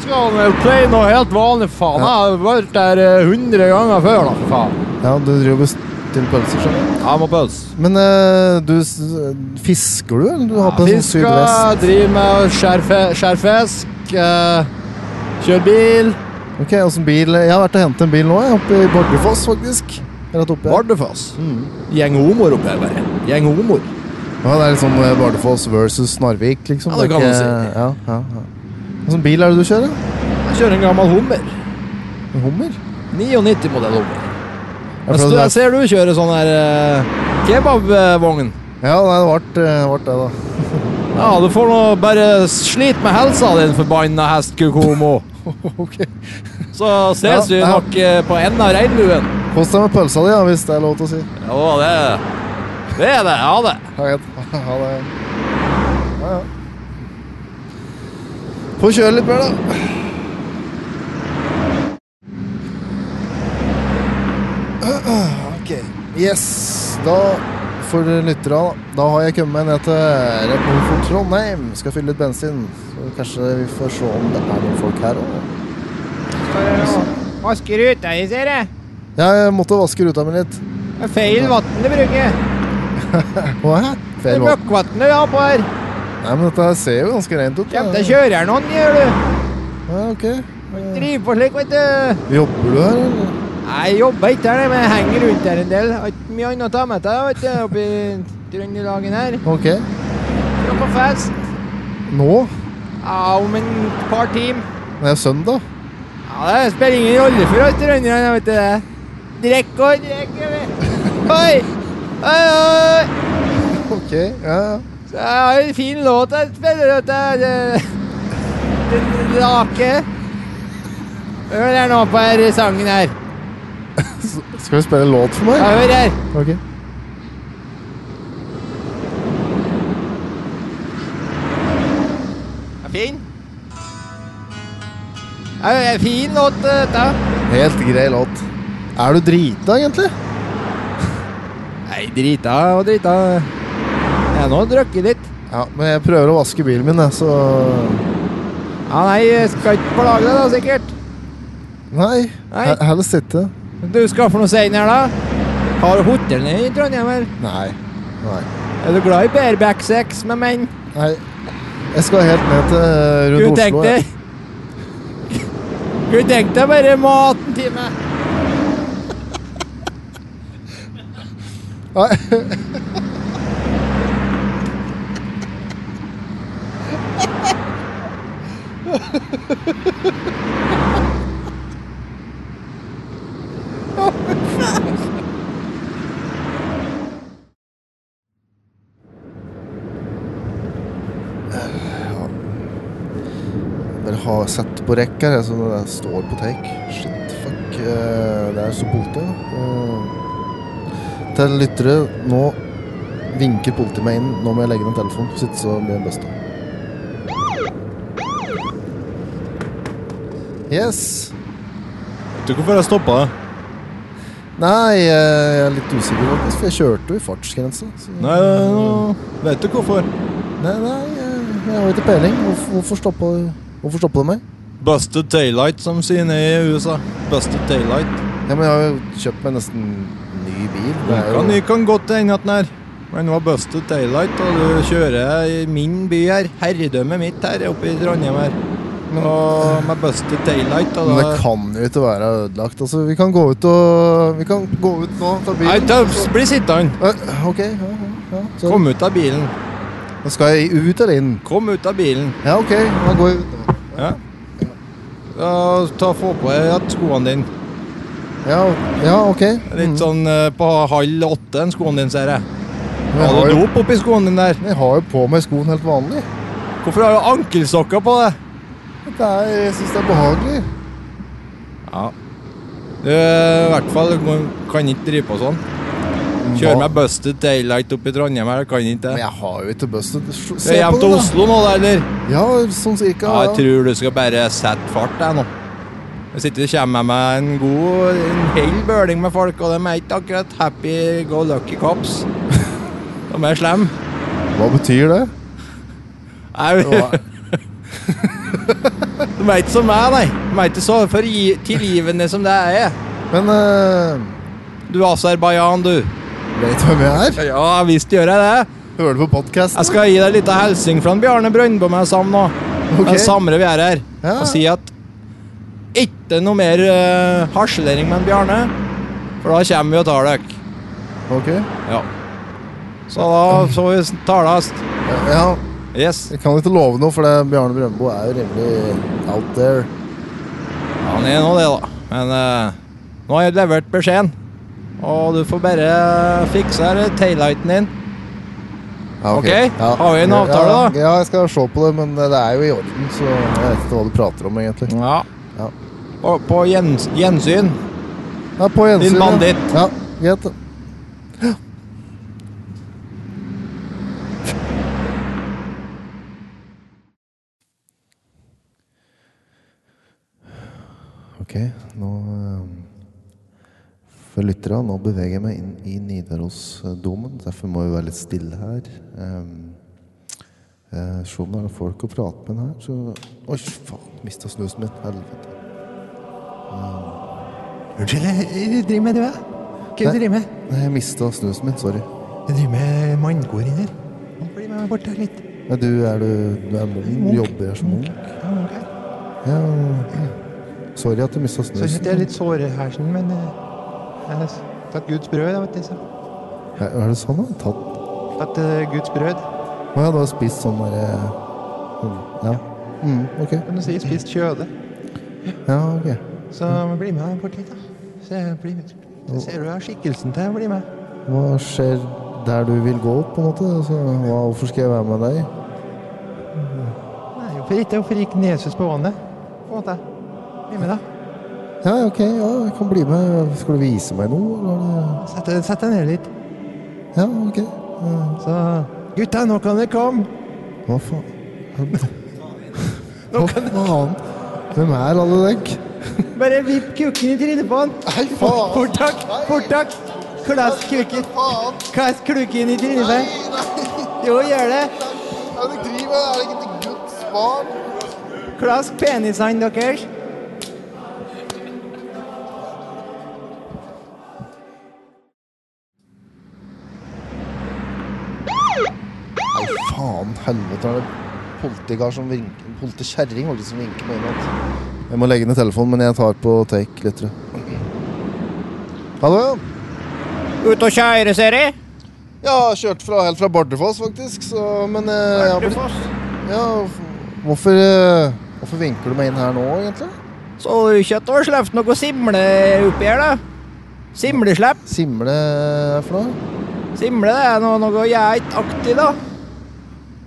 skal han play noe helt vanlig, faen. Jeg har vært der eh, hundre ganger før, da, for faen. Ja, du driver og bestiller pølser, skjønner du. Jeg må pølse. Men eh, du s- Fisker du, eller? Du har på en sånn sydvest? driver med skjærfe- skjærfisk, eh, kjører bil. Ok, åssen bil Jeg har vært og hentet en bil nå, jeg, oppe i Bardufoss, faktisk. Rett oppe. her. Bardufoss. Gjeng homoer oppi her, bare. Gjeng homoer. Ja, det er liksom eh, Bardufoss versus Narvik, liksom. Ja, det er kan man ikke- si. Ja, ja, ja. Åssen bil er det du kjører? Jeg kjører en gammel hummer. En Hummer? 99-modell hummer. Ja, Mens for du, det- jeg ser du kjører sånn her eh, kebabvogn. Ja, nei, det ble, eh, ble [LAUGHS] det, da. Ja, du får nå bare slite med helsa, din forbanna hestkukomo. Ok. Så Ja, ses vi ja. nok eh, på enden av regnbuen. Kos deg med pølsa di, ja, hvis det er lov til å si. Ja, det er det. Det er det. Ha det. Ha det. Ha det. Ja, ja. Få kjøre litt mer, da. Ok. Yes. Da, for lytterne, da, da har jeg kommet ned til Repol for Trondheim. Skal fylle litt bensin. Så kanskje vi får se om det er noen folk her òg. Vasker ruta di, ser jeg. Jeg måtte vaske ruta mi litt. Det er feil vann du bruker. Hva? Det Feil er valg. Møkkvannet du har på her. Nei, men dette her ser jo ganske rent ut. Kjem til å kjøre her noen, gjør du. Ja, ok. Driver på slik, vet du. Jobber du her, eller? Nei, Jeg jobber ikke her, men jeg henger rundt her en del. Har ikke mye annet å ta med deg, vet du, oppi Trøndelagen her. Ok. Skal på fest. Nå? Ja, om en par timer. Det er søndag. Ja, det spiller ingen rolle for oss trønderne, vet du det. Drikk og drikk, vi. Oi! Oi, oi! Ok, ja, ja. Så jeg har en fin låt jeg spiller, vet du. Det- Den lake. Hør her nå på her, sangen her. Skal du spille en låt for Ja, meg? hør her. Ok. Er Fin. Ja, det er en fin låt, dette. Helt grei låt. Er du drita, egentlig? Nei, drita og drita. Jeg har nå drukket litt. Ja, men jeg prøver å vaske bilen min, jeg, så Ja, nei, jeg skal ikke plage deg da, sikkert. Nei. Nei. he- Helst ikke. Du skal for noe senere, da? Har du hotellene i Trondheim, eller? Nei. Nei. Er du glad i bareback sex med menn? Nei. Jeg skal helt ned til eh, rundt Kunne tenkt Oslo. jeg. deg Kunne tenkt deg bare maten til meg. Nei. Bare ha sett på rekk her, jeg, så det der står på take. Shit, fuck. eh, Det er så politi. Til lyttere, nå vinker politiet meg inn. Nå må jeg legge ned telefonen. Sitte så blir jeg busta. Yes. Vet du hvorfor jeg stoppa? Nei, eh, jeg er litt usikker, faktisk, for jeg kjørte jo i fartsgrensa. så- Nei, vet du hvorfor? nei, nei, eh, jeg har ikke peiling. Hvorfor, hvorfor stoppa hvorfor stoppa du meg? Busted daylight, som sier nede i USA. Busted daylight. Ja, men Jeg har jo kjøpt meg nesten ny bil. Det er Kan, jo, jeg kan godt hende at den er Men nå er busted daylight, og du kjører i min by her. Herredømmet mitt her oppe i Trondheim her. Og med busted daylight og men da det kan jo ikke være ødelagt. Altså, Vi kan gå ut og Vi kan gå ut nå, ta Nei, bilen. ta, og så- bli sittende. Eh, Ok, ja, ja, ja. sorry. Kom ut av bilen. Men Skal jeg ut eller inn? Kom ut av bilen. Ja, ok. Da går jeg ut. da. Ja. Ja, ta Få på deg at skoene dine. Ja, ja ok. Litt sånn eh, på halv åtte, den skoen din, ser jeg. Men jeg, Har har du jo, dop oppi skoen din der? men jeg har jo på meg skoen helt vanlig. Hvorfor har du ankelsokker på deg? Det er, jeg syns det er behagelig. Ja. Du, eh, I hvert fall du kan ikke drive på sånn. Kjøre med busted daylight opp i Trondheim her, kan ikke Men det. jeg har jo ikke busted. Se Du er hjem til Oslo nå, da, eller? Ja, sånn cirka. Ja, jeg tror du skal bare sette fart, jeg, nå. Hvis ikke du kommer med en god en hel bøling med folk, og de er ikke akkurat happy go lucky cops. De er slemme. [LAUGHS] Hva betyr det? Nei, Hva? De er ikke som meg, nei. De er ikke så for gi- tilgivende som det er. Men uh, Du Aserbajdsjan, du. vet du hvem jeg er? Ja visst gjør jeg det. Hører du på podkasten? Jeg skal gi deg litt av hilsing fra en Bjarne Brøndbo med sammen nå. Ok. Den samre vi er her. Ja. Og si at ikke noe mer eh, harselering med en Bjarne, for da kommer vi og tar dere. Ok. Ja. Så da får vi tales. Ja, Yes. jeg kan ikke love noe, for det, Bjarne Brøndbo er jo rimelig out there. Han er nå det, da. Men eh, nå har jeg levert beskjeden. Og du får bare fikse her taillighten din. Ja, Ok, har vi en avtale ja, da? Ja, jeg skal se på det, men det er jo i orden, så jeg vet ikke hva du prater om, egentlig. Ja. Ja. På, på gjens, gjensyn. Ja, på gjensyn. Din ja. banditt. Ja, greit. det. Ok, nå eh, For lyttere, nå beveger jeg meg inn i Nidarosdomen. Derfor må vi være litt stille her. Um, eh, Se om det er folk å prate med her, så Oi, faen! Mista snusen min. Helvete. Unnskyld, jeg driver med det, hva? Hva du driver med? Nei, Jeg mista snusen min, sorry. Jeg driver med mannkor inni her. Bli med meg bort her litt. Nei, du er du, du er munk? Du jobber her som munk? Ja, sorry at du mista Så snusen. jeg er litt såre i hersen, sånn, men eh, jeg har tatt Guds brød. Jeg vet, liksom. Er er det sånn? da? Tatt Tatt eh, Guds brød. Å ja, du har spist sånn derre Ja. Mm, ok. Kan du si spist kjøde. Ja, ok. Så bli med meg bort hit, da. Så jeg blir med. Så ser du jeg har skikkelsen til jeg blir med. Hva skjer der du vil gå, på en måte? Altså, hva- hvorfor skal jeg være med deg? Nei, hvorfor ikke? Hvorfor gikk Jesus på vannet? På en måte. Bli med, da. Ja, ok, ja, jeg kan bli med. Skal du vise meg noe? Eller? Sett, deg- sett deg ned litt. Ja, ok. Eh, Så Gutta, nå kan dere komme! Hva faen? Hva faen? Hvem er alle dekk? Bare vipp kukken i trynet på han. Nei, faen! Fort takk! Fort takk! Klask kukken. Klask klukken i trynet på deg. Jo, gjør det. Er det krig, men er det ikke til Guds barn? Klask penisene deres. Nei, faen, helvete, er det politikar som vinker, politikjerring var det som vinker meg innad. Jeg må legge ned telefonen, men jeg tar på take, lyttere. Hallo, ja. Ute og kjøre, ser jeg. Ja, jeg kjørte fra, helt fra Bardufoss, faktisk, så, men eh, jeg har blitt... Ja, f- hvorfor, eh, hvorfor vinker du meg inn her nå, egentlig? Så ikke at du har sluppet noe simle oppi her, da? Simleslepp? Simle er for noe? Simle, det er noe, noe geitaktig, da.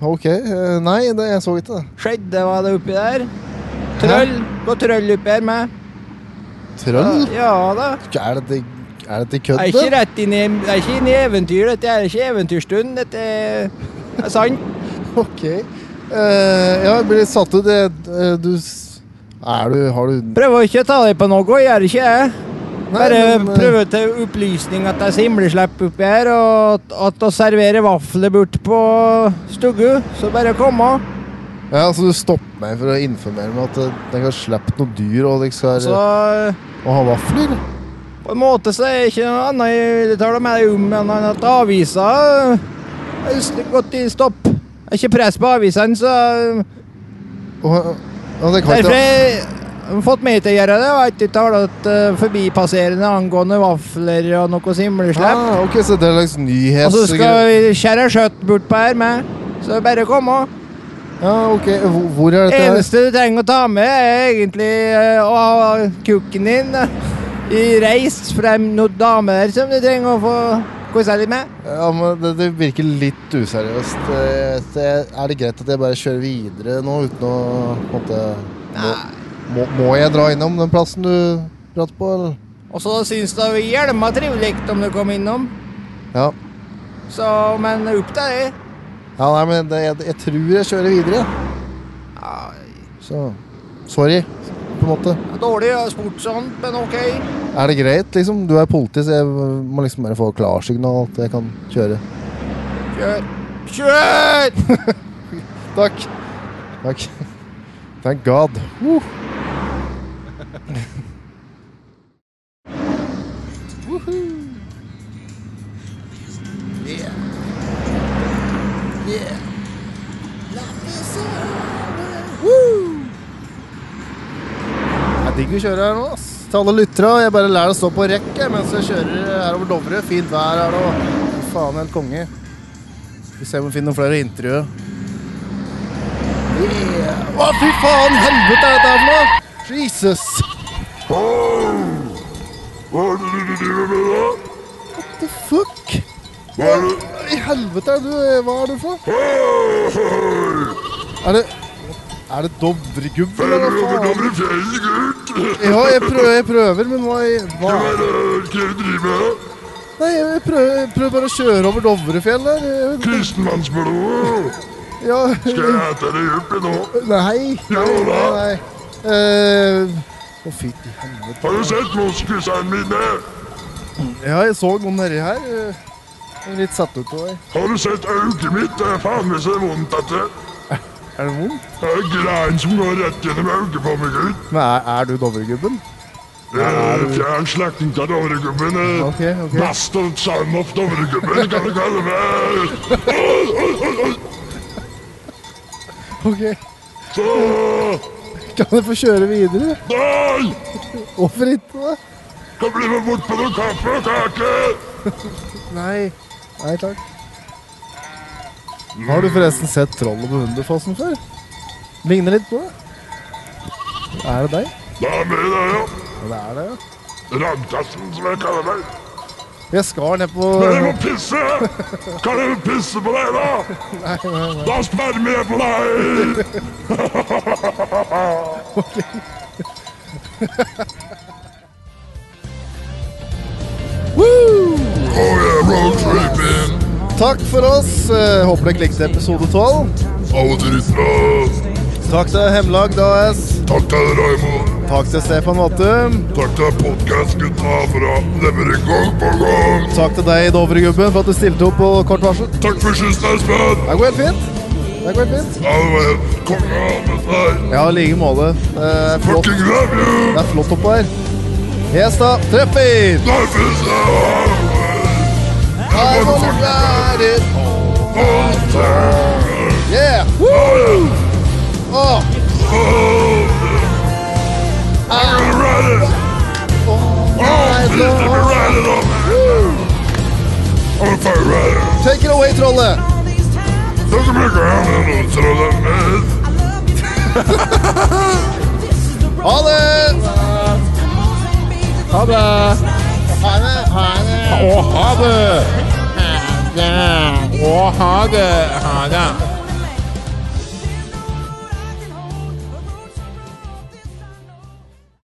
Ok, eh, nei, det, jeg så ikke det. Skjedde hva det oppi der? Trøll? Gå trøll oppi her med? Trøll? Ja da. Er det, er det til Jeg er kødd? det? ikke rett inn i, jeg er ikke inn i eventyr, dette er ikke eventyrstund. Dette er- er sant. Ok. Eh, ja, jeg blir litt satt ut. Jeg- eh, du... s- Er du... Har du... Prøver ikke å ta deg på noe, gjør ikke jeg. Bare men, eh, prøver til opplysning at det er simleslepp oppi her, og at- at å servere vafler bort på stugu, så bare kom av. Ja, altså Du stopper meg for å informere meg at eh, dere har sluppet noen dyr og dere skal Så eh, og ha vafler? på en måte så er det ikke noe annet jeg vil tale med deg om enn at avisa eh, er just gått i stopp. Det er ikke press på avisene, så eh, Og, og dere har derfor ikke har jeg fått meg til å gjøre det, og ikke talt eh, forbipasserende angående vafler og noe simleslepp. ah, Ok, så det er en slags nyhet? Og så Altså, skal vi skjære kjøtt bort på her med. Så bare kom òg. Ja, ok, hvor, hvor er Det dette? her? eneste du trenger å ta med, er egentlig eh, å ha kukken din eh, i reist frem noen damer som du trenger å få kosa litt med. Ja, men det, det virker litt useriøst. Eh, så jeg- Er det greit at jeg bare kjører videre nå uten å på en måte, må, må, må jeg dra innom den plassen du prater på, eller? Og så syns du det hjelma trivelig om du kom innom. Ja. Så, men opp til deg. Ja, nei, men det, jeg, jeg tror jeg kjører videre. Så sorry, på en måte. Dårlig å ha spurt sånn, men ok. Er det greit, liksom? Du er politi, så jeg må liksom bare få klarsignal at jeg kan kjøre. Kjør. Kjør! Takk. Takk. Thank God. Woo. Yeah. Yeah. Jeg digger å kjøre her nå, ass. Til alle lyttere. Jeg bare lærer å stå på rekk jeg, mens jeg kjører her over Dovre. Fint vær er det og fy faen helt konge. Vi ser om vi finner noen flere intervju. Yeah. Å, fy faen! Helvete er dette her for noe! Jesus! Hva er det du driver med da? What the fuck? Hva er det? I helvete er du eh, Hva er du for? Er det Er det Dovregubben, eller hva faen? Dovre fjells gutt! eh, Ja, jeg prøver, jeg prøver men hva, hva? Hva er det du driver med? Nei, jeg prøver, jeg prøver bare å kjøre over Dovrefjell der. Jeg- Kristenmannsblodet! Ja. Skal jeg hete deg opp i nå? Nei. Jo da. Nei, nei. Eh, Å, fy til helvete. Har du sett moskusene mine? Ja, jeg så noen nedi her. eh, jeg er Litt satt ut på deg. Har du sett øyet mitt? Det er faen meg så vondt at det. Er det vondt? Det er grein som går rett gjennom øyet på meg, gutt. Men er, er du Dovregubben? Jeg er fjern slektning av Dovregubben. eh. Master son of Dovregubben, kan du kalle meg. Oi, Oh, oi, oi, oi. Ok. Så Kan jeg få kjøre videre? Nei! Hvorfor ikke det? Kan bli med bort på noe kaffe og kake. Nei. Nei takk. Har du forresten sett trollet på Hunderfossen før? Ligner litt på det. Er det deg? Det er meg, det, ja. Det er det, ja. Ragdassen, som jeg kaller meg. Jeg skar ned på Men jeg må pisse! Kan jeg pisse på deg, da? Nei, nei, nei. Da spermer jeg på deg! Takk for oss. Eh, Håper dere likte episode 12. Takk til Hemlag AS. Takk til Raymond. Takk til Stefan Wattum. Takk til podkast-gutta for å levere gang på gang. Takk til deg, Dovregubben, for at du stilte opp på kort varsel. Takk for sist, Espen. Det går helt fint. Det går helt fint. Ja, det var helt konge å ha med seg. Ja, i like måte. Det er flott. Fucking love you! Det er flott oppå her. Yes da. Treffer! Life is hard. I wanna ride it all the time. Yeah! Woo! Oh. I'm gonna ride it. Oh, please let me ride it on. I'm a fire rider. Take it away, trollet. Look at me, girl. I'm gonna throw that mess. Ha det! Ha det! Ha det! Ha det! 啊 Å, ha det! Å, ha det! Ha det!